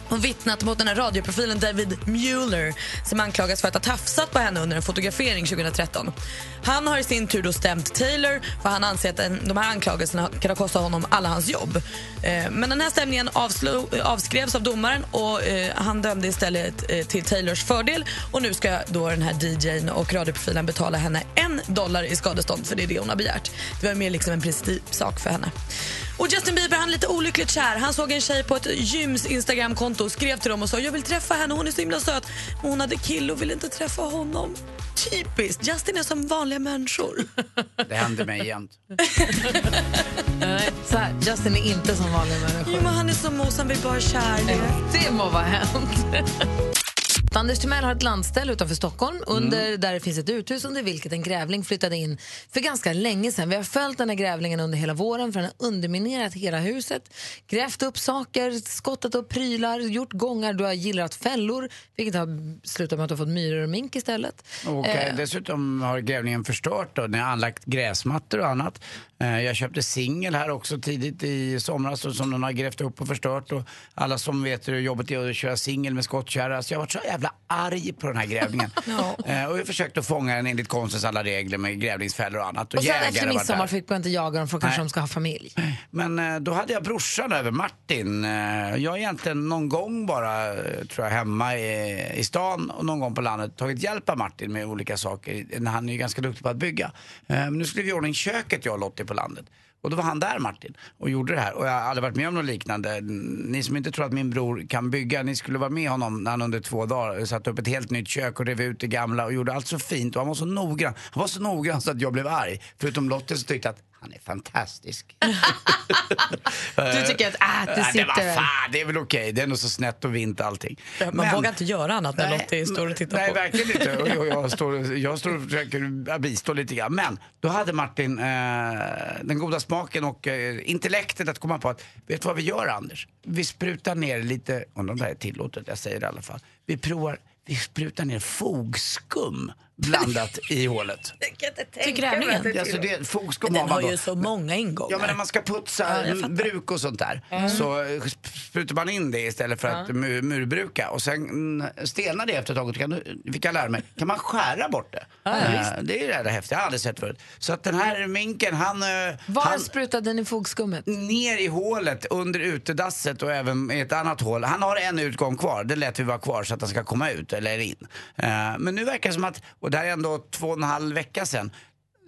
[SPEAKER 3] och vittnat mot den här radioprofilen David Mueller som anklagas för att ha tafsat på henne under en fotografering 2013. Han har i sin tur då stämt Taylor för han anser att den, de här anklagelserna kan ha kostat honom alla hans jobb. Eh, men den här stämningen avslo, avskrevs av domaren och eh, han dömde istället eh, till Taylors fördel och nu ska då den här DJn och radioprofilen betala henne en dollar i skadestånd för det är det hon har begärt. Det var mer liksom en principsak för henne. Och Justin Bieber han är lite olyckligt kär. Han såg en tjej på ett gyms Instagramkonto och skrev till dem och sa jag vill träffa henne, hon är så himla söt. Men hon hade kille och ville inte träffa honom. Typiskt, Justin är som vanliga människor.
[SPEAKER 2] Det händer mig jämt.
[SPEAKER 1] Så här, Justin är inte som vanliga
[SPEAKER 3] jo,
[SPEAKER 1] människor.
[SPEAKER 3] men han är som Mozambique, bara kär.
[SPEAKER 1] Det må vara hänt. Anders Timell har ett landställe utanför Stockholm under, där det finns ett uthus under vilket en grävling flyttade in för ganska länge sedan. Vi har följt den här grävlingen under hela våren för den har underminerat hela huset. Grävt upp saker, skottat upp prylar, gjort gångar, du har gillrat fällor vilket har slutat med att du har fått myror och mink istället.
[SPEAKER 2] Och eh, dessutom har grävlingen förstört då, när jag anlagt gräsmattor och annat. Eh, jag köpte singel här också tidigt i somras och som de har grävt upp och förstört. Och alla som vet hur jobbet är att köra singel med skottkärra. Så jag har varit så jävla arg på den här grävlingen. eh, och jag har försökt att fånga den enligt konstens alla regler med grävlingsfällor och annat.
[SPEAKER 1] Och sen
[SPEAKER 2] jägare har
[SPEAKER 1] efter
[SPEAKER 2] varit
[SPEAKER 1] midsommar
[SPEAKER 2] där.
[SPEAKER 1] fick man inte jaga dem för kanske
[SPEAKER 2] Nej.
[SPEAKER 1] de ska ha familj.
[SPEAKER 2] Men eh, då hade jag brorsan över, Martin. Eh, Jag har egentligen någon gång bara, eh, tror jag, hemma i, i stan och någon gång på landet tagit hjälp av Martin med olika saker. Eh, Han är ju ganska duktig på att bygga. Eh, Men nu skulle vi ordna in köket, jag och Lottie, på landet. Och då var han där, Martin, och gjorde det här. Och jag har aldrig varit med om något liknande. Ni som inte tror att min bror kan bygga, ni skulle vara med honom när han under två dagar eh, satte upp ett helt nytt kök och rev ut det gamla och gjorde allt så fint. Och han var så noggrann. Han var så noggrann så att jag blev arg. Förutom Lottie som tyckte att han är fantastisk.
[SPEAKER 1] Du tycker att äh, det
[SPEAKER 2] Eh, Nej, det,
[SPEAKER 1] sitter
[SPEAKER 2] var
[SPEAKER 1] väl.
[SPEAKER 2] fan, det är väl okej. Det är nog så snett och vint allting.
[SPEAKER 3] Man vågar inte göra annat när Lottie står och tittar
[SPEAKER 2] nej,
[SPEAKER 3] på.
[SPEAKER 2] Nej, verkligen inte. Och jag, jag, står, jag står och försöker bistå lite grann. Men då hade Martin eh, den goda smaken och eh, intellektet att komma på att vet du vad vi gör Anders? Vi sprutar ner lite, om det här är tillåtet, jag säger det i alla fall. Vi provar, vi sprutar ner fogskum blandat i hålet.
[SPEAKER 3] Till grävlingen.
[SPEAKER 2] Alltså det, fogskum
[SPEAKER 3] Den har
[SPEAKER 2] man
[SPEAKER 3] ju
[SPEAKER 2] då.
[SPEAKER 3] så många ingångar.
[SPEAKER 2] Ja men när man ska putsa
[SPEAKER 3] jag fattar. Mm.
[SPEAKER 2] bruk och sånt där så eh, sp- sprutar man in det istället för att mur, murbruka och sen mm, stelnar det efter ett tag och kan, du- fick jag lära mig, kan man skära bort det? Eh, det är ju jävla häftigt, jag har aldrig sett förut. Så att den här minken han, eh,
[SPEAKER 1] Var
[SPEAKER 2] han
[SPEAKER 1] sprutade ni fogskummet?
[SPEAKER 2] ner i hålet under utedasset och även i ett annat hål. Han har en utgång kvar, det lät vi vara kvar så att han ska komma ut eller in. Eh, Men nu verkar det som att, och det här är ändå två och en halv vecka sedan,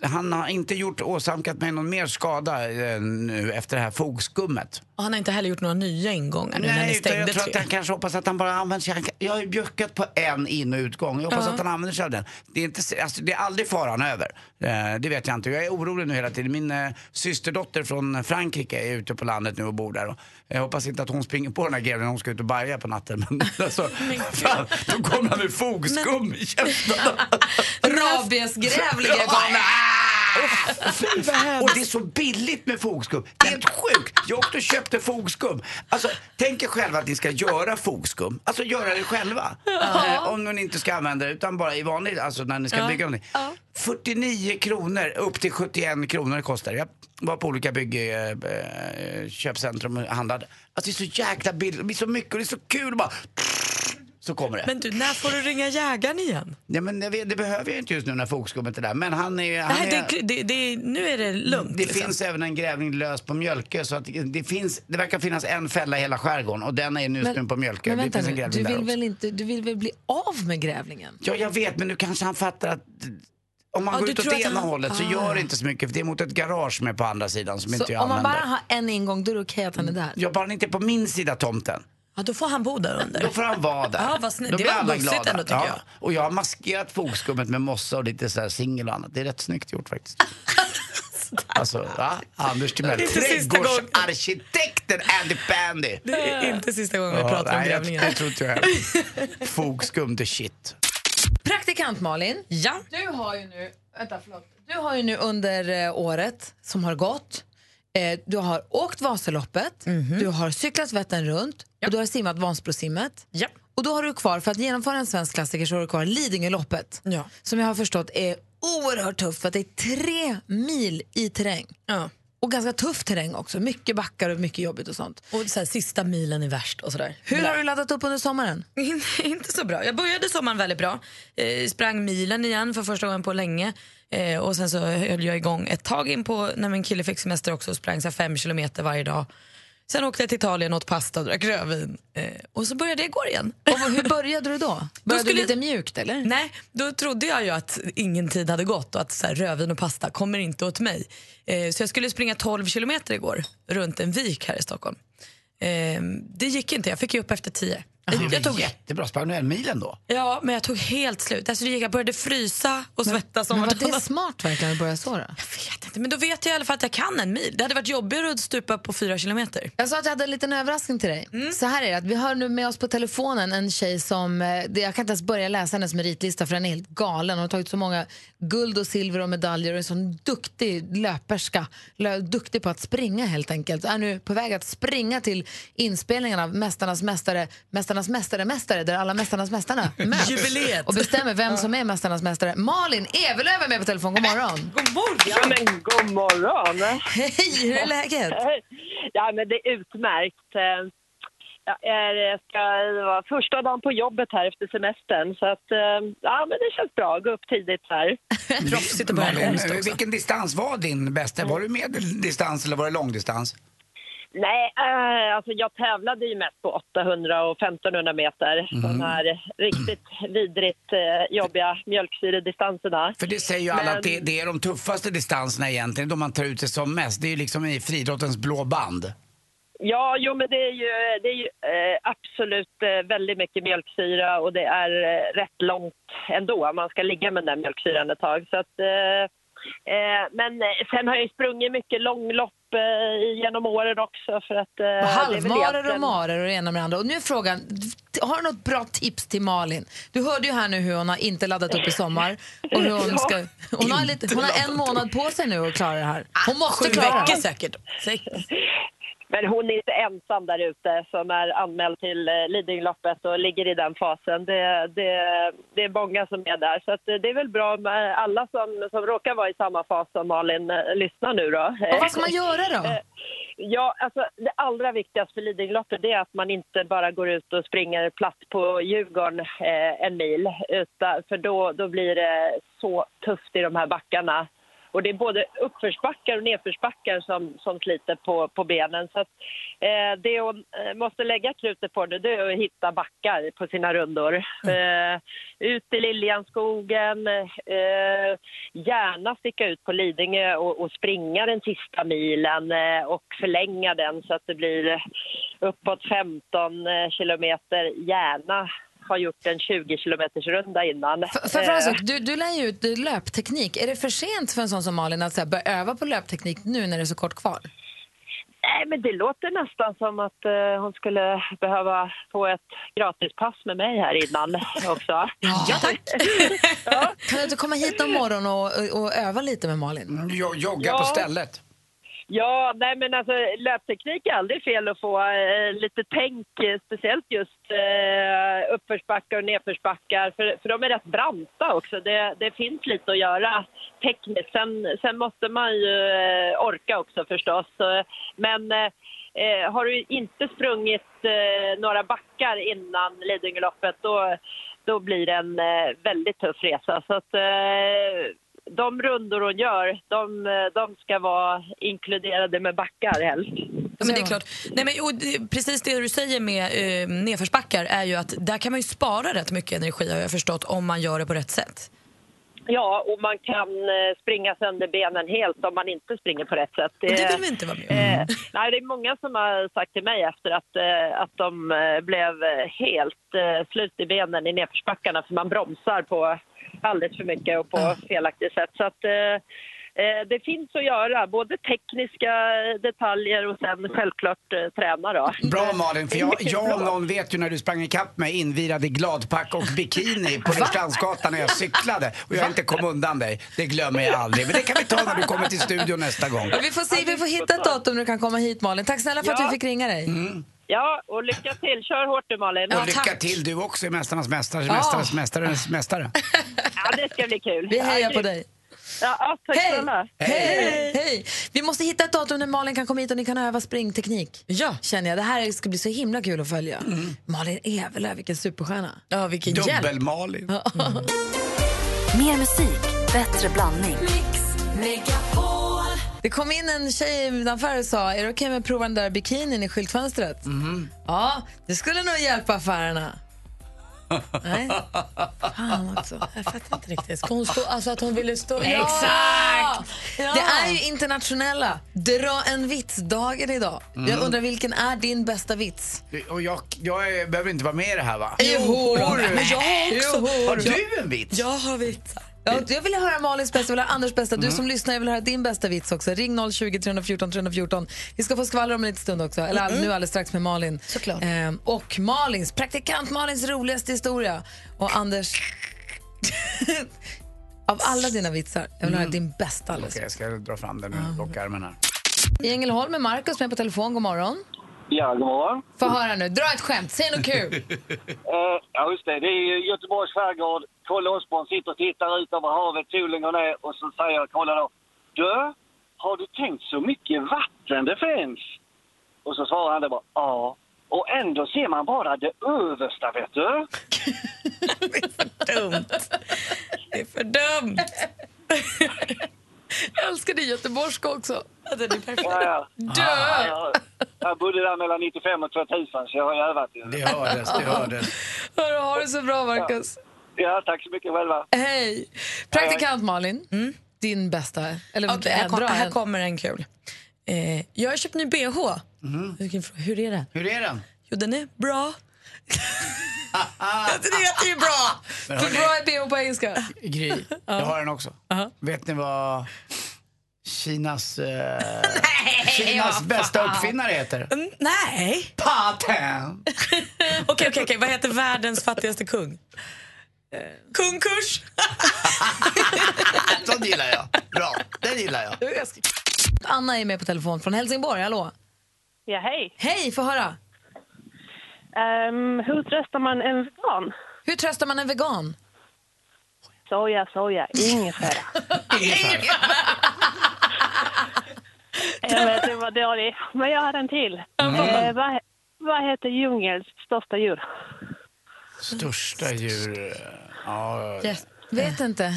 [SPEAKER 2] han har inte gjort åsamkat mig någon mer skada eh, nu efter det här fogskummet.
[SPEAKER 3] Och han har inte heller gjort några nya ingångar nu när ni
[SPEAKER 2] utan
[SPEAKER 3] stängde
[SPEAKER 2] jag tror att
[SPEAKER 3] tre.
[SPEAKER 2] han kanske hoppas att han bara använder sig. han kan- Jag har ju bjuckat på en in och utgång. Jag hoppas att han använder sig av den. Det är, inte, alltså, det är aldrig faran över. Eh, det vet jag inte. Jag är orolig nu hela tiden. Min eh, systerdotter från Frankrike är ute på landet nu och bor där. Och jag hoppas inte att hon springer på den här greven när hon ska ut och baja på natten. Men alltså, fan, då kommer han med fogskum i käften.
[SPEAKER 1] Rabiesgrävlingen
[SPEAKER 2] Ja, nej. Ah! Och det är så billigt med fogskum. Det är helt sjukt. Jag åkte och köpte fogskum. Alltså, tänk er själva att ni ska göra fogskum. Alltså göra det själva. Eh, om ni inte ska använda det utan bara i vanlig, alltså när ni ska bygga någonting. 49 kronor upp till 71 kronor kostar det. Jag var på olika byggköpcentrum och handlade. Alltså det är så jäkla billigt. Det blir så mycket och det är så kul. Och bara, så kommer det.
[SPEAKER 3] Men du, när får du ringa jägaren igen?
[SPEAKER 2] Nej, men jag vet, det behöver jag inte just nu när fogskummet är där. Men han är... Han
[SPEAKER 3] Nej,
[SPEAKER 2] är...
[SPEAKER 3] det, det, det, nu är det lugnt.
[SPEAKER 2] Det
[SPEAKER 3] liksom.
[SPEAKER 2] finns även en grävling lös på Mjölkö så att det, finns, det verkar finnas en fälla i hela skärgården och den är nu men, på Mjölkö.
[SPEAKER 1] Men
[SPEAKER 2] Det
[SPEAKER 1] vänta
[SPEAKER 2] finns en
[SPEAKER 1] nu,
[SPEAKER 2] grävling
[SPEAKER 1] du
[SPEAKER 2] där
[SPEAKER 1] vill,
[SPEAKER 2] också.
[SPEAKER 1] väl inte, du vill väl bli av med grävlingen?
[SPEAKER 2] Ja, jag vet, men nu kanske han fattar att om man
[SPEAKER 3] Ja,
[SPEAKER 2] går
[SPEAKER 3] du
[SPEAKER 2] ut åt
[SPEAKER 3] tror att
[SPEAKER 2] ena
[SPEAKER 3] han- Ah.
[SPEAKER 2] hållet så gör det inte så mycket för det är mot ett garage som är på andra sidan som inte
[SPEAKER 1] Så
[SPEAKER 2] jag
[SPEAKER 1] om man
[SPEAKER 2] använder.
[SPEAKER 1] bara har en ingång, då är det okej att han är där?
[SPEAKER 2] Jag bara han inte är på min sida tomten.
[SPEAKER 3] Ja, då får han bo där under.
[SPEAKER 2] Då får han vara där.
[SPEAKER 3] Ja, vad snyggt.
[SPEAKER 2] Då
[SPEAKER 3] Det
[SPEAKER 2] blir
[SPEAKER 3] var
[SPEAKER 2] alla
[SPEAKER 3] bussigt
[SPEAKER 2] glada.
[SPEAKER 3] ändå, tycker jag.
[SPEAKER 2] Och jag har maskerat fogskummet med mossa och lite så här singel och annat. Det är rätt snyggt gjort faktiskt. alltså, va? Anders Timell.
[SPEAKER 3] Det är inte sista gången.
[SPEAKER 2] Trädgårdsarkitekten Andy Pandy.
[SPEAKER 3] Det är inte sista gången vi
[SPEAKER 2] Ja,
[SPEAKER 3] pratar om
[SPEAKER 2] nej, jag,
[SPEAKER 3] grävlingen.
[SPEAKER 2] jag tror inte jag heller. Fogskum the shit.
[SPEAKER 1] Praktikant Malin,
[SPEAKER 3] Ja.
[SPEAKER 1] du har ju nu, vänta, förlåt. Du har ju nu under eh, året som har gått, eh, du har åkt Vasaloppet,
[SPEAKER 3] Mhm.
[SPEAKER 1] du har cyklat Vättern runt och du har simmat Vansbrosimmet.
[SPEAKER 3] Ja.
[SPEAKER 1] Och då har du kvar, för att genomföra en svensk klassiker så har du kvar Lidingöloppet.
[SPEAKER 3] Ja.
[SPEAKER 1] Som jag har förstått är oerhört tufft för att det är tre mil i terräng.
[SPEAKER 3] ja.
[SPEAKER 1] Och ganska tuff terräng också, mycket backar och mycket jobbigt och sånt.
[SPEAKER 3] Och så här, sista milen är värst och sådär.
[SPEAKER 1] Hur har du laddat upp under sommaren?
[SPEAKER 3] In, inte så bra. Jag började sommaren väldigt bra. Eh, sprang milen igen för första gången på länge. Eh, och sen så höll jag igång ett tag in på när min kille fick semester också och sprang så här fem kilometer varje dag. Sen åkte jag till Italien och åt pasta och drack rödvin. Eh, och så började jag igår igen.
[SPEAKER 1] Och hur började du då? Började
[SPEAKER 3] skulle-
[SPEAKER 1] du lite mjukt eller?
[SPEAKER 3] Nej, då trodde jag ju att ingen tid hade gått och att så här, rödvin och pasta kommer inte åt mig. Eh, så jag skulle springa 12 kilometer igår runt en vik här i Stockholm. Eh, det gick inte, jag fick ju upp efter 10. Jag, jag tog
[SPEAKER 2] jättebra. Sprang du en mil ändå?
[SPEAKER 3] Ja, men jag tog helt slut. Alltså, det gick, jag började frysa och svettas som
[SPEAKER 1] Men var det
[SPEAKER 3] vartannat-
[SPEAKER 1] smart verkligen att börja så då?
[SPEAKER 3] Jag vet inte, men då vet jag i alla fall att jag kan en mil. Det hade varit jobbigare att stupa på fyra kilometer.
[SPEAKER 1] Jag sa att jag hade en liten överraskning till dig.
[SPEAKER 3] Mm.
[SPEAKER 1] Så här är det, att vi har nu med oss på telefonen en tjej som, eh, det- jag kan inte ens börja läsa hennes meritlista för den är helt galen. Hon har tagit så många guld och silver och medaljer och är en sån duktig löperska. Lö, duktig på att springa helt enkelt. Är nu på väg att springa till inspelningen av Mästarnas mästare, Mästarnas mästare, mästare där alla Mästarnas mästarna möts.
[SPEAKER 3] Jubileet.
[SPEAKER 1] Och bestämmer vem som är Mästarnas mästare. Malin Evelöv är med på telefon, god morgon.
[SPEAKER 3] God morgon!
[SPEAKER 10] Ja, men god morgon.
[SPEAKER 1] Hej, hur är läget?
[SPEAKER 10] Ja, men det är utmärkt. Eh, Jag är, jag ska det var första dagen på jobbet här efter semestern, så att, eh, ja, men det känns bra. Gå upp tidigt här.
[SPEAKER 3] Proffsigt att börja en onsdag också.
[SPEAKER 2] Vilken distans var din bästa? Var det medeldistans eller var det långdistans?
[SPEAKER 10] Nej, eh, alltså jag tävlade ju mest på 800 och 1500 meter. De här riktigt vidrigt eh, jobbiga mjölksyredistanserna.
[SPEAKER 2] För det säger ju alla
[SPEAKER 10] Men-
[SPEAKER 2] att det, det är de tuffaste distanserna egentligen, då man tar ut sig som mest. Det är ju liksom i friidrottens blå band.
[SPEAKER 10] Ja, jo, men det är ju, det är ju eh, absolut eh, väldigt mycket mjölksyra och det är eh, rätt långt ändå. Man ska ligga med den där mjölksyran ett tag. Så att, eh, eh, men eh, sen har jag ju sprungit mycket långlopp eh, genom åren också. För att, eh, det är
[SPEAKER 1] Och
[SPEAKER 10] väl
[SPEAKER 1] halvmarer och
[SPEAKER 10] egentligen-
[SPEAKER 1] marer och det ena med det andra. Och nu är frågan, har du något bra tips till Malin? Du hörde ju här nu hur hon har inte laddat upp i sommar. Och hur hon, ska, hon, har, lite, hon har en månad på sig nu att klara det
[SPEAKER 10] Ah,
[SPEAKER 1] här. Hon måste
[SPEAKER 3] Sju
[SPEAKER 1] klara
[SPEAKER 3] veckor
[SPEAKER 1] det.
[SPEAKER 3] säkert. Säkert.
[SPEAKER 10] Men hon är inte ensam där ute som är anmäld till eh, Lidingöloppet och ligger i den fasen. Det, det, det är många som är där. Så att eh, det är väl bra om eh, alla som, som råkar vara i samma fas som Malin eh, lyssnar nu då.
[SPEAKER 1] Och vad ska man göra då?
[SPEAKER 10] Ja, alltså det allra viktigaste för Lidingöloppet det är att man inte bara går ut och springer platt på Djurgården eh, en mil. Utan, för då, då blir det så tufft i de här backarna. Och det är både uppförsbackar och nedförsbackar som, som sliter på, på benen. Så att, eh, det hon eh, måste lägga klutet på nu det är att hitta backar på sina rundor.
[SPEAKER 1] Mm.
[SPEAKER 10] Eh, ut i Liljanskogen, eh, gärna sticka ut på Lidingö och, och springa den sista milen eh, och förlänga den så att det blir uppåt 15 eh, kilometer, gärna har gjort en 20 kilometers runda innan.
[SPEAKER 1] För, för alltså,
[SPEAKER 10] Eh,
[SPEAKER 1] du, du lär ju ut eh, löpteknik. Är det för sent för en sån som Malin att så här, börja öva på löpteknik nu när det är så kort kvar?
[SPEAKER 10] Nej, men det låter nästan som att eh, hon skulle behöva få ett gratispass med mig här innan också.
[SPEAKER 1] Ja, tack. Kan du inte komma hit någon morgon och, och, och öva lite med Malin?
[SPEAKER 2] jogga
[SPEAKER 10] Ja. Mm, på stället. Ja, nej men alltså löpteknik är aldrig fel att få eh, lite tänk, eh, speciellt just eh, uppförsbackar och nedförsbackar, för, för de är rätt branta också. Det, det finns lite att göra tekniskt. Sen, sen måste man ju eh, orka också förstås. Så, Men eh, eh, har du inte sprungit eh, några backar innan Lidingöloppet, då, då blir det en eh, väldigt tuff resa. Så att, eh, de rundor hon gör, de, eh, de ska vara inkluderade med backar helst.
[SPEAKER 3] Ja, men det är klart. Nej, men, och, det- precis det du säger med eh, nedförsbackar är ju att där kan man ju spara rätt mycket energi har jag förstått om man gör det på rätt sätt.
[SPEAKER 10] Ja, och man kan eh, springa sönder benen helt om man inte springer på rätt sätt.
[SPEAKER 3] Och det vill vi inte vara med om.
[SPEAKER 10] Eh, nej, det är många som har sagt till mig efter att, eh, att de eh, blev eh, helt eh, slut i benen i nedförsbackarna för man bromsar på alldeles för mycket och
[SPEAKER 2] Mm.
[SPEAKER 10] på felaktigt sätt. Så att, eh, eh, det finns att göra, både tekniska eh, detaljer och sen självklart eh, träna. Då.
[SPEAKER 2] Bra Malin, för
[SPEAKER 10] Det är
[SPEAKER 2] jag,
[SPEAKER 10] mycket
[SPEAKER 2] jag om
[SPEAKER 10] bra.
[SPEAKER 2] någon vet ju när du sprang ikapp mig invirad i gladpack och bikini på Rörstrandsgatan när jag cyklade och jag inte kom undan dig. Det glömmer jag aldrig. Men det kan vi ta när du kommer till studion nästa gång.
[SPEAKER 1] Vi får se, vi får hitta ett datum när du kan komma hit Malin. Tack snälla för att
[SPEAKER 10] Ja.
[SPEAKER 1] vi fick ringa dig.
[SPEAKER 10] Mm. Ja, och lycka till. Kör hårt du Malin.
[SPEAKER 2] och lycka till du också i Mästarnas mästare,
[SPEAKER 10] Ja.
[SPEAKER 1] Ah.
[SPEAKER 2] Mästarnas mästares mästare.
[SPEAKER 10] Ja, det ska bli kul.
[SPEAKER 1] Vi hejar
[SPEAKER 10] Ja,
[SPEAKER 1] på dig.
[SPEAKER 10] Ja, ja, tack snälla.
[SPEAKER 1] Hej! Hej! Vi måste hitta ett datum när Malin kan komma hit och ni kan öva springteknik. Ja. Känner jag. Det här ska bli så himla kul att följa. Malin Evelöv, vilken superstjärna.
[SPEAKER 3] Mm. Ja, vilken Mm.
[SPEAKER 2] Dubbel-Malin.
[SPEAKER 8] Mer musik, bättre blandning.
[SPEAKER 1] Det kom in en tjej utanför och sa, är det okej med att prova den där bikinin i skyltfönstret?
[SPEAKER 3] Mm.
[SPEAKER 2] Mhm.
[SPEAKER 1] Ja, det skulle nog hjälpa affärerna. Nej. Fan också. Jag fattar inte riktigt. Ska hon stå, alltså att hon ville stå...
[SPEAKER 3] Exakt!
[SPEAKER 1] Ja! Det är ju internationella dra en vits-dagen idag.
[SPEAKER 2] Mm.
[SPEAKER 1] Jag undrar vilken är din bästa vits?
[SPEAKER 2] Och jag, jag är- behöver inte vara med i det här va?
[SPEAKER 1] Jo, då.
[SPEAKER 2] du.
[SPEAKER 1] Men jag har också-
[SPEAKER 2] Har
[SPEAKER 1] jag-
[SPEAKER 2] du en bit?
[SPEAKER 3] Jag har vitsar.
[SPEAKER 1] Ja, jag vill höra Malins bästa, jag vill höra Anders bästa. Du
[SPEAKER 2] Mm.
[SPEAKER 1] som lyssnar, jag vill höra din bästa vits också. Ring 020 314 314. Vi ska få skvaller om en liten stund också, eller all-
[SPEAKER 3] Mm.
[SPEAKER 1] nu alldeles strax med Malin. Såklart. Ehm, och Malins, praktikant Malins roligaste historia. Och Anders, av alla dina vitsar, jag vill höra
[SPEAKER 2] Mm.
[SPEAKER 1] din bästa alldeles. Ah.
[SPEAKER 2] Okej, jag ska dra fram den ur lockarmen här.
[SPEAKER 1] I Ängelholm är Markus med på telefon, god morgon.
[SPEAKER 11] Ja, god morgon.
[SPEAKER 1] Få höra nu, dra ett skämt, säg något kul.
[SPEAKER 11] Eh, ja, just det. Det är ju Göteborgs skärgård. Kalle Osborn sitter och tittar ut över havet. Solen går ner och så säger Kalle då. Du, har du tänkt så mycket vatten det finns? Och så svarar han det bara. Ja. Och ändå ser man bara det översta, vet du.
[SPEAKER 3] Dumt. Det är för dumt.
[SPEAKER 1] jag älskar det göteborgska också.
[SPEAKER 3] Ja, det är perfekt.
[SPEAKER 11] Ja, ja.
[SPEAKER 1] Dö!
[SPEAKER 11] Ja, jag, jag bodde där mellan 95 och 2000 så jag har jävat ju.
[SPEAKER 2] Det hördes, det hördes.
[SPEAKER 1] Hörru, ha det så bra Markus.
[SPEAKER 11] Ja, tack så mycket själva.
[SPEAKER 1] Hej! Praktikant Malin, din bästa. Eller
[SPEAKER 3] Okej, här, kom,
[SPEAKER 1] dra
[SPEAKER 3] här
[SPEAKER 1] en.
[SPEAKER 3] kommer en kul. Eh, jag har köpt ny bh. Vilken frå- Hur är den?
[SPEAKER 2] Mhm. Hur är den?
[SPEAKER 3] Jo, den är bra. det heter ju bra!
[SPEAKER 2] Men
[SPEAKER 1] Hur
[SPEAKER 2] hörni-
[SPEAKER 1] bra är bh på engelska?
[SPEAKER 2] Gry, jag har den också. Vet ni vad Kinas, eh, Kinas
[SPEAKER 3] vad
[SPEAKER 2] bästa
[SPEAKER 3] fan.
[SPEAKER 2] uppfinnare heter?
[SPEAKER 3] Mm, Nej!
[SPEAKER 2] Patent!
[SPEAKER 3] Okej, okej, okej. Vad heter världens fattigaste kung?
[SPEAKER 1] Eh.
[SPEAKER 3] Kung Kurs!
[SPEAKER 2] Sånt gillar jag. Bra, den gillar jag.
[SPEAKER 1] Anna är med på telefon från Helsingborg. Hallå!
[SPEAKER 12] Ja, hej. Ehm,
[SPEAKER 1] Hej, få höra.
[SPEAKER 12] hur tröstar man en vegan?
[SPEAKER 1] Hur tröstar man en vegan?
[SPEAKER 12] Soja, soja, ingefära. jag vet, det var dålig. Men jag har en till. Eh, vad, he- vad heter djungelns största djur?
[SPEAKER 2] Största djur... eh, Ja,
[SPEAKER 1] Vet inte.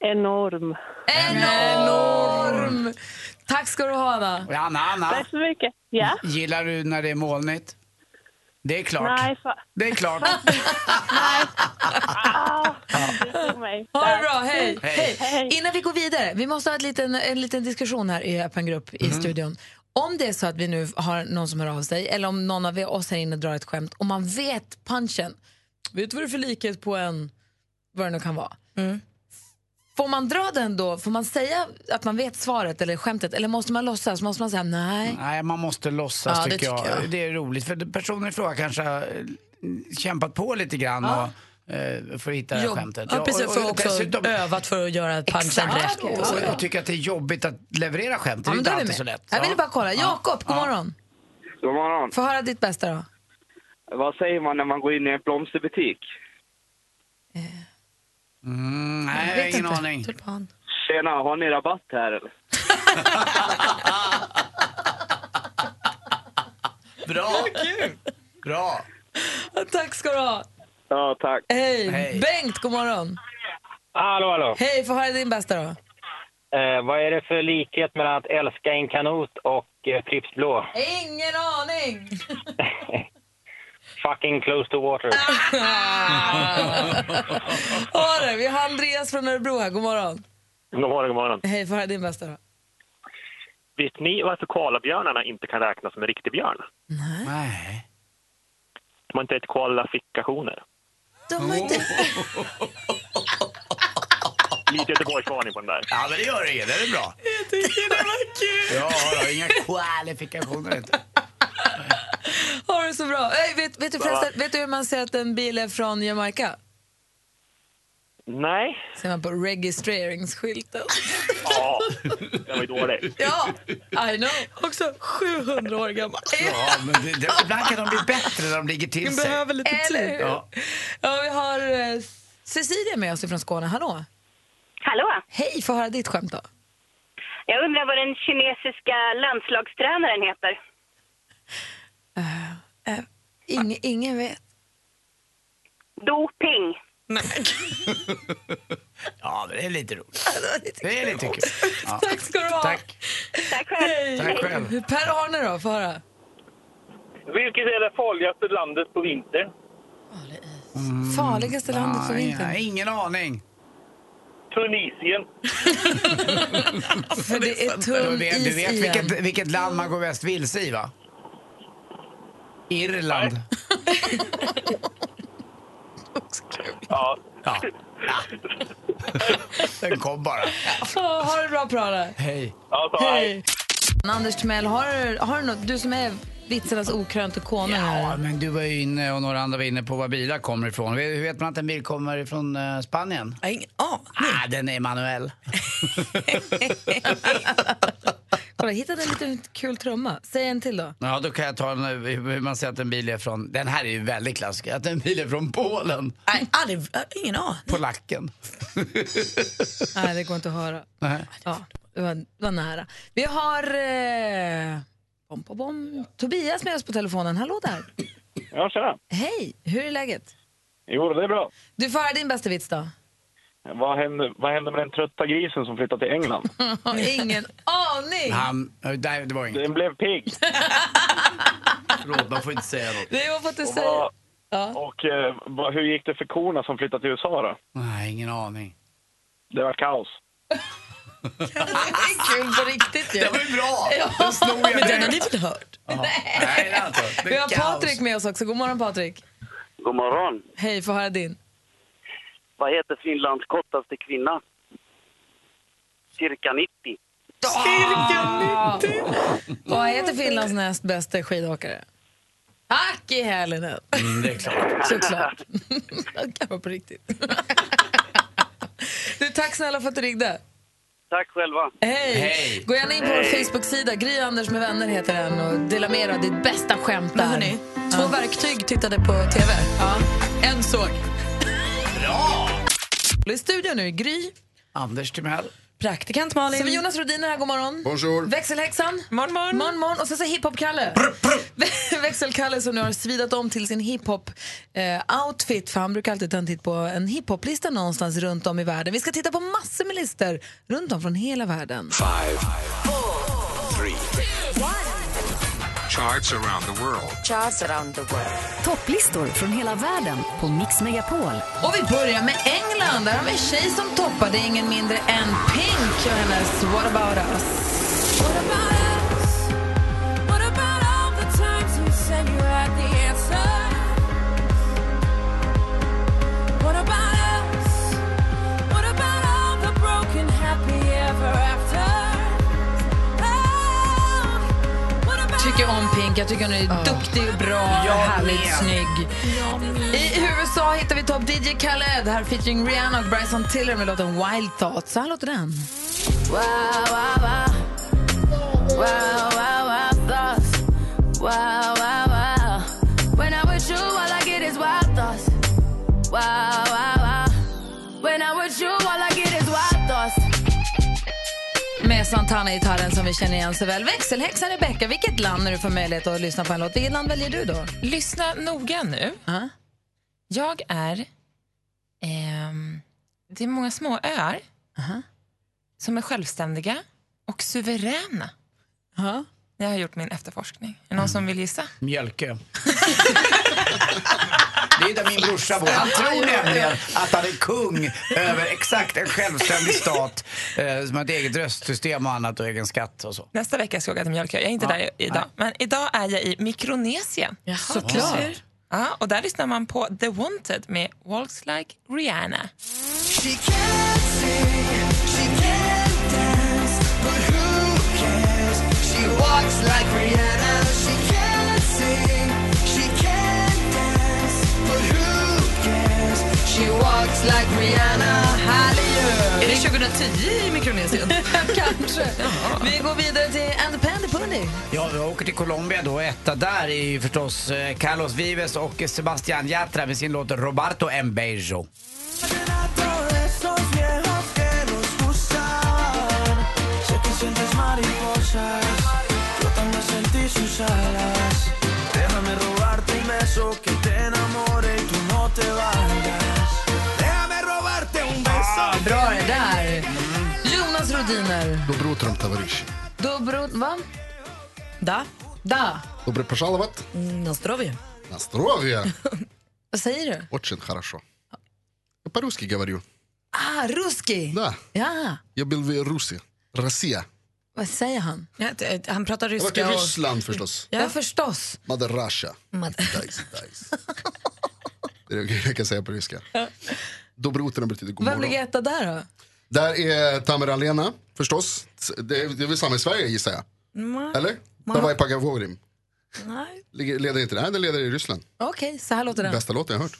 [SPEAKER 12] Enorm.
[SPEAKER 13] Enorm! Mm. Tack ska du ha, Anna.
[SPEAKER 2] Och Anna, Anna.
[SPEAKER 12] Tack så mycket. Ja.
[SPEAKER 2] Gillar du när det är molnigt? Det är klart.
[SPEAKER 12] Nej, fan.
[SPEAKER 2] Det är klart.
[SPEAKER 1] Ha det bra, hej.
[SPEAKER 2] Hej.
[SPEAKER 1] Innan vi går vidare, vi måste ha ett liten, en liten diskussion här i öppen grupp i
[SPEAKER 2] Mhm.
[SPEAKER 1] studion. Om det är så att vi nu har någon som hör av sig eller om någon av oss här inne drar ett skämt och man vet punchen, vet du vad det är för likhet på en, vad det nu kan vara.
[SPEAKER 2] Mm.
[SPEAKER 1] Får man dra den då? Får man säga att man vet svaret eller skämtet eller måste man låtsas? Måste man säga nej?
[SPEAKER 2] Nej, man måste låtsas
[SPEAKER 1] Ja, det
[SPEAKER 2] tycker, jag.
[SPEAKER 1] tycker jag.
[SPEAKER 2] Det är roligt för personen i fråga kanske har eh, kämpat på lite grann
[SPEAKER 3] Ja.
[SPEAKER 2] och, eh, för att hitta
[SPEAKER 3] Jo.
[SPEAKER 2] skämtet.
[SPEAKER 3] Ja, precis, för också övat för att göra punchen rätt.
[SPEAKER 2] Och, och, och tycker att det är jobbigt att leverera skämt. Det
[SPEAKER 1] Ja,
[SPEAKER 2] är
[SPEAKER 1] men
[SPEAKER 2] inte
[SPEAKER 1] då är vi
[SPEAKER 2] alltid så
[SPEAKER 1] med.
[SPEAKER 2] lätt.
[SPEAKER 1] Jag ville
[SPEAKER 2] Ja.
[SPEAKER 1] bara kolla. Jakob, god morgon.
[SPEAKER 14] God morgon.
[SPEAKER 1] Få höra ditt bästa då.
[SPEAKER 14] Vad säger man när man går in i en blomsterbutik?
[SPEAKER 2] Eh. Mm, nej, jag har ingen aning.
[SPEAKER 14] Tjena, har ni rabatt här eller?
[SPEAKER 2] Bra! Bra!
[SPEAKER 1] Tack ska du ha.
[SPEAKER 14] Ja, tack.
[SPEAKER 1] Hej. Bengt, god morgon.
[SPEAKER 15] Hallå, hallå.
[SPEAKER 1] Hej, få höra din bästa då.
[SPEAKER 15] Eh, vad är det för likhet mellan att älska en kanot och eh, Pripps Blå?
[SPEAKER 1] Ingen aning!
[SPEAKER 15] Fucking close to water.
[SPEAKER 1] ha det, vi har Andreas från Örebro här, god morgon.
[SPEAKER 16] God morgon, god morgon.
[SPEAKER 1] Hej, få höra din bästa då.
[SPEAKER 16] Vet ni varför koalabjörnarna inte kan räknas som en riktig björn?
[SPEAKER 2] Nej.
[SPEAKER 16] De har inte ett koalafikationer.
[SPEAKER 1] De har inte...
[SPEAKER 16] Lite göteborgsvarning på den där.
[SPEAKER 2] Ja, men det gör inget. Det är bra.
[SPEAKER 3] Jag tycker det var kul.
[SPEAKER 2] Jag har inga kvalifikationer inte.
[SPEAKER 1] Ha det så bra. Öj, vet, vet, du
[SPEAKER 2] Ja.
[SPEAKER 1] förresten, vet du hur man säger att en bil är från Jamaica?
[SPEAKER 16] Nej.
[SPEAKER 1] Ser man på registreringsskylten.
[SPEAKER 16] Ja, det var ju dåligt.
[SPEAKER 1] Ja, I know. Också 700 år gammal.
[SPEAKER 2] Ja, men det, det, ibland kan de bli bättre när de ligger till
[SPEAKER 1] Vi
[SPEAKER 2] sig.
[SPEAKER 1] behöver lite Eller tid. hur?
[SPEAKER 2] Ja.
[SPEAKER 1] Ja, vi har eh, Cecilia med oss från Skåne. Hallå!
[SPEAKER 17] Hallå!
[SPEAKER 1] Hej, få höra ditt skämt då.
[SPEAKER 17] Jag undrar vad den kinesiska landslagstränaren heter.
[SPEAKER 1] Inge, ingen vet.
[SPEAKER 17] Doping.
[SPEAKER 2] Ja, men det är lite roligt. Det är lite kul. Ja.
[SPEAKER 1] Tack ska du ha.
[SPEAKER 2] Tack.
[SPEAKER 17] Tack själv.
[SPEAKER 2] Tack själv.
[SPEAKER 1] Per-Arne då, få höra.
[SPEAKER 18] Vilket är det farligaste landet på vintern?
[SPEAKER 1] Farligaste landet för
[SPEAKER 2] Mm. Nej,
[SPEAKER 1] vintern?
[SPEAKER 2] nej, Ingen aning.
[SPEAKER 18] Tunisien.
[SPEAKER 1] För Alltså, det är
[SPEAKER 2] Du
[SPEAKER 1] tunn
[SPEAKER 2] vet, du
[SPEAKER 1] is
[SPEAKER 2] vet
[SPEAKER 1] igen.
[SPEAKER 2] vilket, vilket land man går mest vilse i, va? Irland.
[SPEAKER 18] Ja.
[SPEAKER 2] ja. Den kom bara.
[SPEAKER 1] Ja, ha det bra, Prara.
[SPEAKER 2] Hej.
[SPEAKER 1] Hej! Anders Timell, har, har du något? Du som är vitsarnas okrönte konung
[SPEAKER 2] Ja,
[SPEAKER 1] här.
[SPEAKER 2] men du var ju inne och några andra var inne på var bilar kommer ifrån. Hur vet man att en bil kommer ifrån eh, Spanien?
[SPEAKER 3] Ingen aning.
[SPEAKER 2] Ah, den är manuell.
[SPEAKER 1] Kolla, hittade en liten kul trumma. Säg en till då.
[SPEAKER 2] Ja, då kan jag ta en, eh, hur hur man säger att en bil är från... Den här är ju väldigt klassisk. Att en bil är från Polen.
[SPEAKER 3] Nej, aldrig, ingen aning.
[SPEAKER 2] Polacken.
[SPEAKER 1] Nej, det går inte att höra.
[SPEAKER 2] Nej.
[SPEAKER 1] Ja, det var, det var nära. Vi har eh, bom, bom, bom. Tobias med oss på telefonen. Hallå där.
[SPEAKER 18] Ja, tjena.
[SPEAKER 1] Hej, hur är läget?
[SPEAKER 18] Jo, det är bra.
[SPEAKER 1] Du får höra din bästa vits då.
[SPEAKER 18] Vad händer, vad händer med den trötta grisen som flyttade till England?
[SPEAKER 1] Ingen aning.
[SPEAKER 2] Han, eh, nej, det var inget.
[SPEAKER 18] Den blev pigg.
[SPEAKER 2] Förlåt, man får inte säga något.
[SPEAKER 1] Det var för att du
[SPEAKER 18] Och
[SPEAKER 1] säger.
[SPEAKER 18] vad- Och eh, vad, hur gick det för korna som flyttade till USA då?
[SPEAKER 2] Nej, ingen aning.
[SPEAKER 18] Det var kaos.
[SPEAKER 1] Det är kul på riktigt ju.
[SPEAKER 2] Det var ju bra.
[SPEAKER 1] Ja.
[SPEAKER 2] Den snor jag
[SPEAKER 1] Men den har ni
[SPEAKER 2] direkt.
[SPEAKER 1] väl hört?
[SPEAKER 2] Nej, det är alltså. Det
[SPEAKER 1] Vi har
[SPEAKER 2] är kaos.
[SPEAKER 1] Patrik med oss också. God morgon Patrik.
[SPEAKER 19] God morgon.
[SPEAKER 1] Hej, få höra din.
[SPEAKER 19] Vad heter Finlands kortaste kvinna? Cirka 90.
[SPEAKER 1] Ah! Cirka 90! Vad heter Finlands näst bästa skidåkare? Tack i Hälinen!
[SPEAKER 2] Mm, det är klart.
[SPEAKER 1] Såklart. Det kan vara på riktigt. Du, tack snälla för att du ringde.
[SPEAKER 19] Tack själva.
[SPEAKER 1] Hej! Gå gärna in på vår Facebook-sida. Gry Anders med vänner heter den. Och dela med dig av ditt bästa skämt där. Hörni,
[SPEAKER 3] Två verktyg tittade på TV. Ja. En såg.
[SPEAKER 2] Bra!
[SPEAKER 1] I studion nu, Gry.
[SPEAKER 2] Anders Timell.
[SPEAKER 3] Praktikant Malin.
[SPEAKER 1] Så vi Jonas Rhodiner här, god morgon.
[SPEAKER 20] Bonjour.
[SPEAKER 1] Växelhäxan.
[SPEAKER 5] Morgon, morgon.
[SPEAKER 1] morgon, morgon. Och så så hiphop-Kalle. Växelkalle som nu har svidat om till sin hiphop-outfit. för han brukar alltid ta en titt på en hiphop-lista någonstans runt om i världen. Vi ska titta på massor med listor runt om från hela världen.
[SPEAKER 21] Five, three, charts around the world.
[SPEAKER 8] Topplistor från hela världen på Mix Megapol.
[SPEAKER 1] Och vi börjar med England. Där har vi en tjej som toppar. Det är ingen mindre än Pink och hennes What about us. Tycker om Pink. Jag tycker hon är duktig, bra, härligt snygg. I USA hittar vi topp DJ Khaled. Här featuring Rihanna och Bryson Tiller med låten Wild Thoughts. Så här låter den.
[SPEAKER 21] Wow, wow, wow. Wow, wow, wow, thoughts. Wow, wow, wow. When I'm with you, all I get is wild thoughts. Wow, wow, wow. When I'm with you, all I get is wild thoughts.
[SPEAKER 1] Med Santana-gitarren som vi känner igen så väl. Växelhäxan Rebecca, vilket land när du får möjlighet att lyssna på en låt, vilket land väljer du då?
[SPEAKER 5] Lyssna noga nu. Jag är... ehm, det är många små öar som är självständiga och suveräna. Jag har gjort min efterforskning. Är det någon som vill gissa?
[SPEAKER 2] Mjölkö. Det är där min brorsa bor. Han tror nämligen att han är kung över exakt en självständig stat eh, som har ett eget röstsystem och annat och egen skatt och så.
[SPEAKER 5] Nästa vecka ska jag åka till Mjölkö. Jag är inte
[SPEAKER 2] Ja,
[SPEAKER 5] där idag. Men idag är jag i Mikronesien.
[SPEAKER 2] Såklart. du ser.
[SPEAKER 5] Ja, och där lyssnar man på The Wanted med Walks Like Rihanna.
[SPEAKER 21] She can't sing, she can't dance, but who cares? She walks like Rihanna. She can't sing, she can't dance, but who cares? She walks like Rihanna. Hallelujah.
[SPEAKER 3] Är det 2010 i Mikronesien?
[SPEAKER 1] Kanske. Vi går vidare till Andy Pandy Pundy.
[SPEAKER 2] Ja, vi åker till Colombia då. Etta där är ju förstås eh, Carlos Vives och Sebastián Yatra med sin låt Roberto en Bejo.
[SPEAKER 1] Bra det där. Jonas Rodiner.
[SPEAKER 20] Доброе утром, товарищи.
[SPEAKER 1] Dobro... Va? Da. Da.
[SPEAKER 20] Добро пожаловать
[SPEAKER 3] Nostrovje.
[SPEAKER 20] на здоровье.
[SPEAKER 1] Vad säger du?
[SPEAKER 20] Очень хорошо. Я по-русски говорю.
[SPEAKER 1] Ah, ruski.
[SPEAKER 20] Да,
[SPEAKER 1] Ja.
[SPEAKER 20] я был в Руси. Россия.
[SPEAKER 1] Vad säger han?
[SPEAKER 3] eh, han pratar
[SPEAKER 20] Jag har varit i Ryssland förstås.
[SPEAKER 1] Ja, förstås.
[SPEAKER 20] Mother Russia.
[SPEAKER 3] Mm.
[SPEAKER 20] Det är det jag kan säga på ryska. Доброе утро betyder god
[SPEAKER 1] Vem
[SPEAKER 20] morgon.
[SPEAKER 1] ligger etta där då?
[SPEAKER 20] Där är Tamer Alena förstås. Det är, det är väl samma i Sverige gissar jag.
[SPEAKER 1] Mm.
[SPEAKER 20] Eller? Davai Pagavorim.
[SPEAKER 1] Nej.
[SPEAKER 20] Ligger- Leder inte den? Nej, den leder i Ryssland.
[SPEAKER 1] Okej, så här låter den.
[SPEAKER 20] Bästa låten jag hört.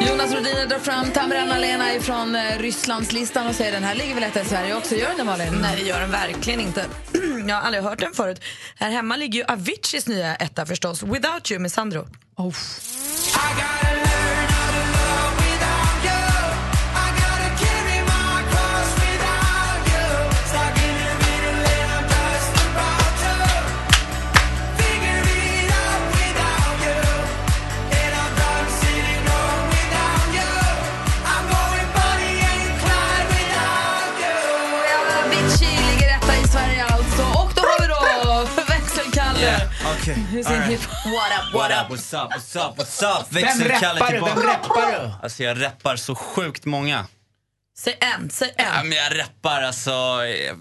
[SPEAKER 1] Jonas Rodiner drar fram Tamran-Alena ifrån eh, Rysslandslistan och säger den här ligger väl etta i Sverige också. Gör den det, Malin?
[SPEAKER 3] Nej, det gör den verkligen inte. Jag har aldrig hört den förut. Här hemma ligger ju Aviciis nya etta förstås, Without You med Sandro.
[SPEAKER 1] Oh. Avicii ligger etta i Sverige alltså. Och då har vi då Växelkalle.
[SPEAKER 14] Okay.
[SPEAKER 1] Hur ser ni på- What up,
[SPEAKER 14] What up, what's up, what's up, what's up?
[SPEAKER 2] Vem
[SPEAKER 14] Växelkalle
[SPEAKER 2] rappar du?
[SPEAKER 14] tillbaka.
[SPEAKER 2] Vem rappar du?
[SPEAKER 14] Alltså jag rappar så sjukt många.
[SPEAKER 3] Säg en, säg en.
[SPEAKER 14] Ja, men jag rappar alltså... eh,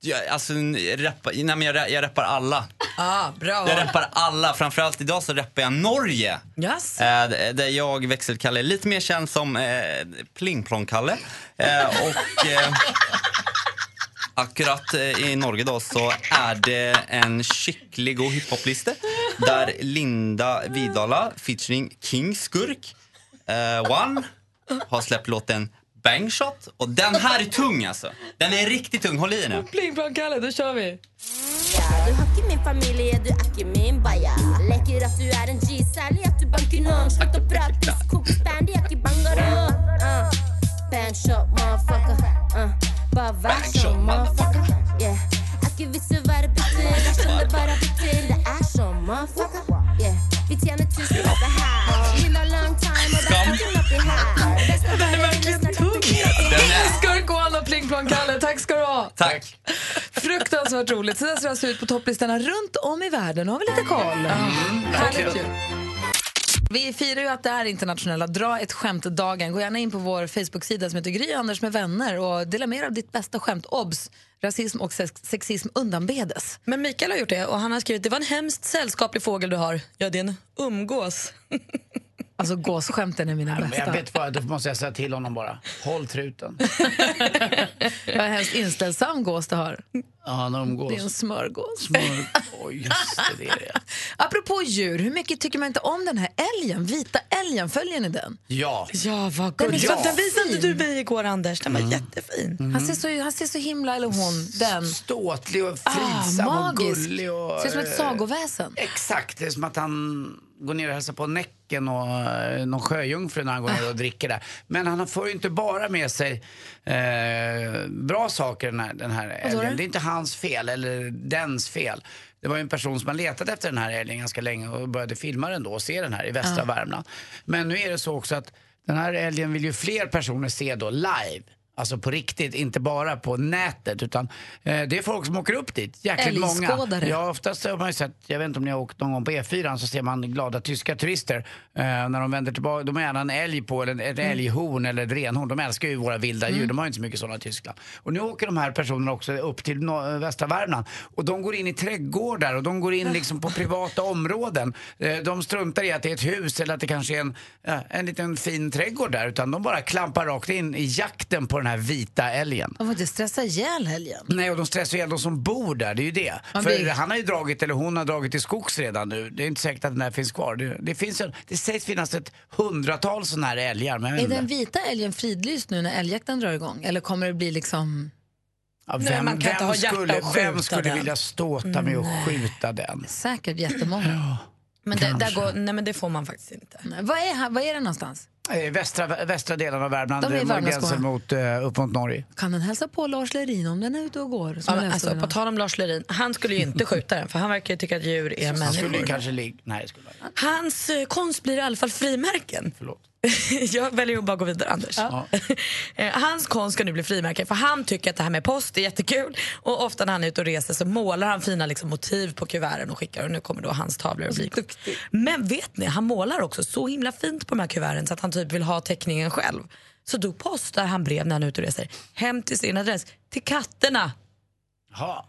[SPEAKER 14] Jag, alltså jag, rappar, nej, men jag, ra- jag rappar alla.
[SPEAKER 3] Ah, bra.
[SPEAKER 14] Jag rappar alla. Framförallt idag så rappar jag Norge.
[SPEAKER 3] Yes.
[SPEAKER 14] Eh, d- där jag, Växelkalle, är lite mer känd som eh, Plingplong-Kalle. Eh, och eh, akkurat eh, i Norge då så är det en kycklig och hiphop-lista där Linda Vidala featuring King Skurk, eh, One har släppt låten Bangshot. Och den här är tung alltså. Den är riktigt tung. Håll i nu.
[SPEAKER 1] Pling plong Kalle, då kör vi.
[SPEAKER 22] Du har ikke min familie, du er ikke min baya. Leker at du er en G, særlig at du banker noen. Slutt å prate, kokos bandy, jeg er ikke bangaro. Uh. Bandshot, motherfucker. Uh. Bare vær sånn, motherfucker. Yeah. Er ikke vits å være bitter, det er sånn det bare blir til. Det er sånn, motherfucker. Yeah. Vi tjener tusen på det her. Lilla long time, og det er fucking oppi her. Ah. Det er verkligen
[SPEAKER 1] Skurk One och Pling Plong Kalle, tack ska du ha.
[SPEAKER 14] Tack.
[SPEAKER 1] Fruktansvärt roligt. Så där ser det alltså ut på topplistorna runt om i världen. Nu har vi lite koll.
[SPEAKER 3] Mm.
[SPEAKER 1] Härligt ju. Vi firar ju att det är internationella dra ett skämt-dagen. Gå gärna in på vår Facebook-sida som heter Gry Anders med vänner och dela med er av ditt bästa skämt. Obs! Rasism och sex- sexism undanbedes.
[SPEAKER 3] Men Mikael har gjort det och han har skrivit det var en hemskt sällskaplig fågel du har. Ja, det är en umgås.
[SPEAKER 1] Alltså gåsskämten är mina
[SPEAKER 2] Men jag
[SPEAKER 1] bästa.
[SPEAKER 2] vet vad, då måste jag säga till honom bara. Håll truten.
[SPEAKER 1] Vad hemskt inställsam gås du har.
[SPEAKER 2] Ja, han umgås.
[SPEAKER 1] Det är en smörgås.
[SPEAKER 2] Smör... Oj, just det, det är det.
[SPEAKER 1] Apropå djur, hur mycket tycker man inte om den här älgen? Vita älgen, följer ni den?
[SPEAKER 2] Ja.
[SPEAKER 3] Ja, vad
[SPEAKER 1] Den är
[SPEAKER 3] gulligt.
[SPEAKER 1] så
[SPEAKER 3] Den visade
[SPEAKER 1] fin.
[SPEAKER 3] du mig igår, Anders. Den var
[SPEAKER 2] Mm.
[SPEAKER 3] jättefin.
[SPEAKER 1] Han, ser så, han ser så himla, eller hon, den. Ah,
[SPEAKER 2] Ståtlig och fridsam och gullig. Och,
[SPEAKER 1] ser ut som ett
[SPEAKER 2] eh,
[SPEAKER 1] sagoväsen.
[SPEAKER 2] Exakt, det är som att han går ner och hälsar på Näcken och eh, någon sjöjungfru när han går ner och dricker där. Men han får ju inte bara med sig eh, bra saker den här, den här
[SPEAKER 21] då
[SPEAKER 2] älgen. Det är inte hans fel eller dens fel. Det var ju en person som har letat efter den här älgen ganska länge och började filma den då och se den här i västra
[SPEAKER 21] Ja.
[SPEAKER 2] Värmland. Men nu är det så också att den här älgen vill ju fler personer se då live. Alltså på riktigt, inte bara på nätet utan eh, det är folk som åker upp dit. Jäkligt många.
[SPEAKER 21] Älgskådare.
[SPEAKER 2] Ja, oftast har man ju sett, jag vet inte om ni har åkt någon gång på E4 så ser man glada tyska turister. Eh, när de vänder tillbaka, de har gärna en älg på eller en, ett älghorn eller ett renhorn. De älskar ju våra vilda djur, de har ju inte så mycket sådana i Tyskland. Och nu åker de här personerna också upp till no- eh, västra Värmland och de går in i trädgårdar och de går in liksom på privata områden. Eh, de struntar i att det är ett hus eller att det kanske är en, ja, en liten fin trädgård där utan de bara klampar rakt in i jakten på den här vita älgen.
[SPEAKER 1] Man får inte stressa ihjäl helgen.
[SPEAKER 2] Nej, och de stressar ihjäl de som bor där. Det är ju det.
[SPEAKER 1] Man
[SPEAKER 2] För
[SPEAKER 1] blir-
[SPEAKER 2] han har ju dragit, eller hon har dragit till skogs redan nu. Det är inte säkert att den här finns kvar. Det, det, finns, en- det sägs finnas ett hundratal sådana här älgar. Men jag vet
[SPEAKER 1] Är
[SPEAKER 2] inte.
[SPEAKER 1] den vita älgen fridlyst nu när älgjakten drar igång? Eller kommer det bli liksom...
[SPEAKER 2] Ja,
[SPEAKER 1] Nej,
[SPEAKER 2] vem,
[SPEAKER 1] man kan inte
[SPEAKER 2] vem
[SPEAKER 1] ha hjärta
[SPEAKER 2] skulle,
[SPEAKER 1] att skjuta
[SPEAKER 2] vem skulle
[SPEAKER 1] den.
[SPEAKER 2] vilja ståta med att skjuta den?
[SPEAKER 1] Säkert jättemånga.
[SPEAKER 3] Men det, där går, nej, men det får man faktiskt inte.
[SPEAKER 1] Nej, Vad är, han- vad är det någonstans?
[SPEAKER 2] Eh, Västra, västra delen av Värmland,
[SPEAKER 1] De är i
[SPEAKER 2] eh,
[SPEAKER 1] Värmlands
[SPEAKER 2] gränsen mot, eh, upp mot Norge.
[SPEAKER 1] Kan den hälsa på Lars Lerin om den är ute och går? Som
[SPEAKER 3] Ja,
[SPEAKER 1] jag
[SPEAKER 3] men,
[SPEAKER 1] läste
[SPEAKER 3] alltså,
[SPEAKER 1] om
[SPEAKER 3] på
[SPEAKER 1] idag?
[SPEAKER 3] tal om Lars Lerin, han skulle ju inte skjuta den för han verkar ju tycka att djur är
[SPEAKER 2] Han skulle ju
[SPEAKER 3] människor.
[SPEAKER 2] kanske ligga... Nej, det skulle man inte.
[SPEAKER 3] Hans eh, konst blir i alla fall frimärken.
[SPEAKER 2] Förlåt.
[SPEAKER 3] Jag väljer att bara gå vidare, Anders. Eh, Hans konst ska nu bli frimärken för han tycker att det här med post är jättekul. Och ofta när han är ute och reser så målar han fina liksom, motiv på kuverten och skickar. Och nu kommer då hans tavlor att bli Men vet ni, han målar också så himla fint på de här kuverten så att han typ vill ha teckningen själv. Så då postar han brev när han är ute och reser hem till sin adress, till katterna.
[SPEAKER 2] Jaha.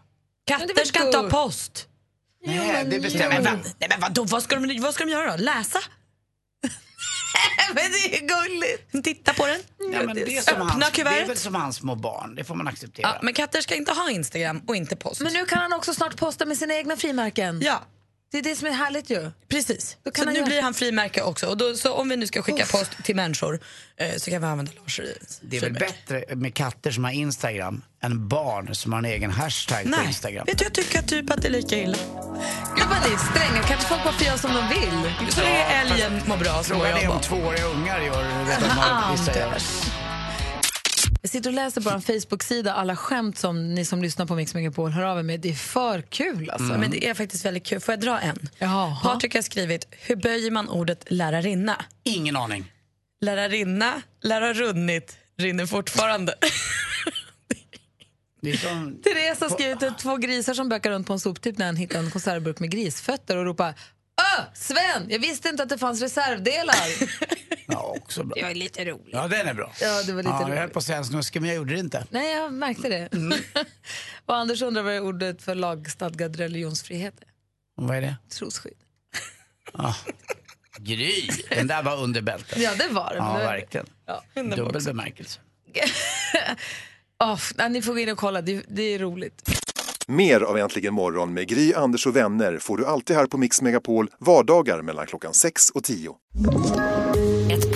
[SPEAKER 3] Katter ska inte ha post.
[SPEAKER 2] Nej, det
[SPEAKER 3] Nej,
[SPEAKER 2] bestämmer
[SPEAKER 3] men,
[SPEAKER 2] du.
[SPEAKER 3] vad, nej, men vadå, vad, ska de, vad ska de göra då? Läsa? men det är gulligt. Titta på den.
[SPEAKER 2] Ja, men
[SPEAKER 1] Mm,
[SPEAKER 2] det, är som
[SPEAKER 3] Öppna
[SPEAKER 2] hans, det är
[SPEAKER 3] kuvertet.
[SPEAKER 2] väl som hans små barn, det får man acceptera.
[SPEAKER 3] Ja, men katter ska inte ha Instagram och inte post.
[SPEAKER 1] Men nu kan han också snart posta med sina egna frimärken.
[SPEAKER 3] Ja.
[SPEAKER 1] Det är det som är härligt ju.
[SPEAKER 3] Precis.
[SPEAKER 1] Då kan
[SPEAKER 3] så
[SPEAKER 1] han
[SPEAKER 3] nu
[SPEAKER 1] göra-
[SPEAKER 3] blir han frimärke också. Och då, så om vi nu ska skicka post till människor eh, så kan vi använda Lars Rins
[SPEAKER 2] Det är väl
[SPEAKER 3] frimärke.
[SPEAKER 2] bättre med katter som har Instagram än barn som har en egen hashtag på
[SPEAKER 3] Nej,
[SPEAKER 2] Instagram.
[SPEAKER 3] vet du, jag tycker typ att det är lika illa.
[SPEAKER 1] Ja, men det är stränga. Kan inte folk bara få göra som de vill?
[SPEAKER 3] Så länge älgen mår bra så mår
[SPEAKER 2] Frågan
[SPEAKER 3] jag
[SPEAKER 2] är om
[SPEAKER 3] bra.
[SPEAKER 2] tvååriga ungar gör redan vad vissa gör.
[SPEAKER 1] Jag sitter och läser på en Facebook-sida alla skämt som ni som lyssnar på Mix Megapol hör av er med. Det är för kul alltså.
[SPEAKER 3] Mm. Men det är faktiskt väldigt kul. Får jag dra en?
[SPEAKER 1] Jaha.
[SPEAKER 3] Patrik har skrivit, hur böjer man ordet lärarinna?
[SPEAKER 2] Ingen aning.
[SPEAKER 3] Lärarinna, lär ha runnit, rinner fortfarande.
[SPEAKER 2] Det är som...
[SPEAKER 1] Therese har skrivit att två grisar som bökar runt på en soptipp när han hittar en konservburk med grisfötter och ropar Ö, Sven, jag visste inte att det fanns reservdelar.
[SPEAKER 2] Ja, också bra.
[SPEAKER 1] Jag är lite rolig.
[SPEAKER 2] Ja, den är bra.
[SPEAKER 1] Ja, det var lite
[SPEAKER 2] Jag höll
[SPEAKER 1] roligt.
[SPEAKER 2] på att säga en snuske, men jag gjorde det inte.
[SPEAKER 1] Nej, jag märkte det. och Anders undrar vad är ordet för lagstadgad religionsfrihet är.
[SPEAKER 2] Vad är det?
[SPEAKER 1] Trosskydd.
[SPEAKER 2] Ah. Gry, den där var under bältet.
[SPEAKER 1] Ja, det var det.
[SPEAKER 2] Ja,
[SPEAKER 1] Men det-
[SPEAKER 2] verkligen. Dubbel bemärkelse.
[SPEAKER 1] Oh, nej, ni får gå in och kolla, det, det är roligt.
[SPEAKER 9] Mer av Äntligen morgon med Gry, Anders och vänner får du alltid här på Mix Megapol vardagar mellan klockan 6 och 10.
[SPEAKER 8] Ett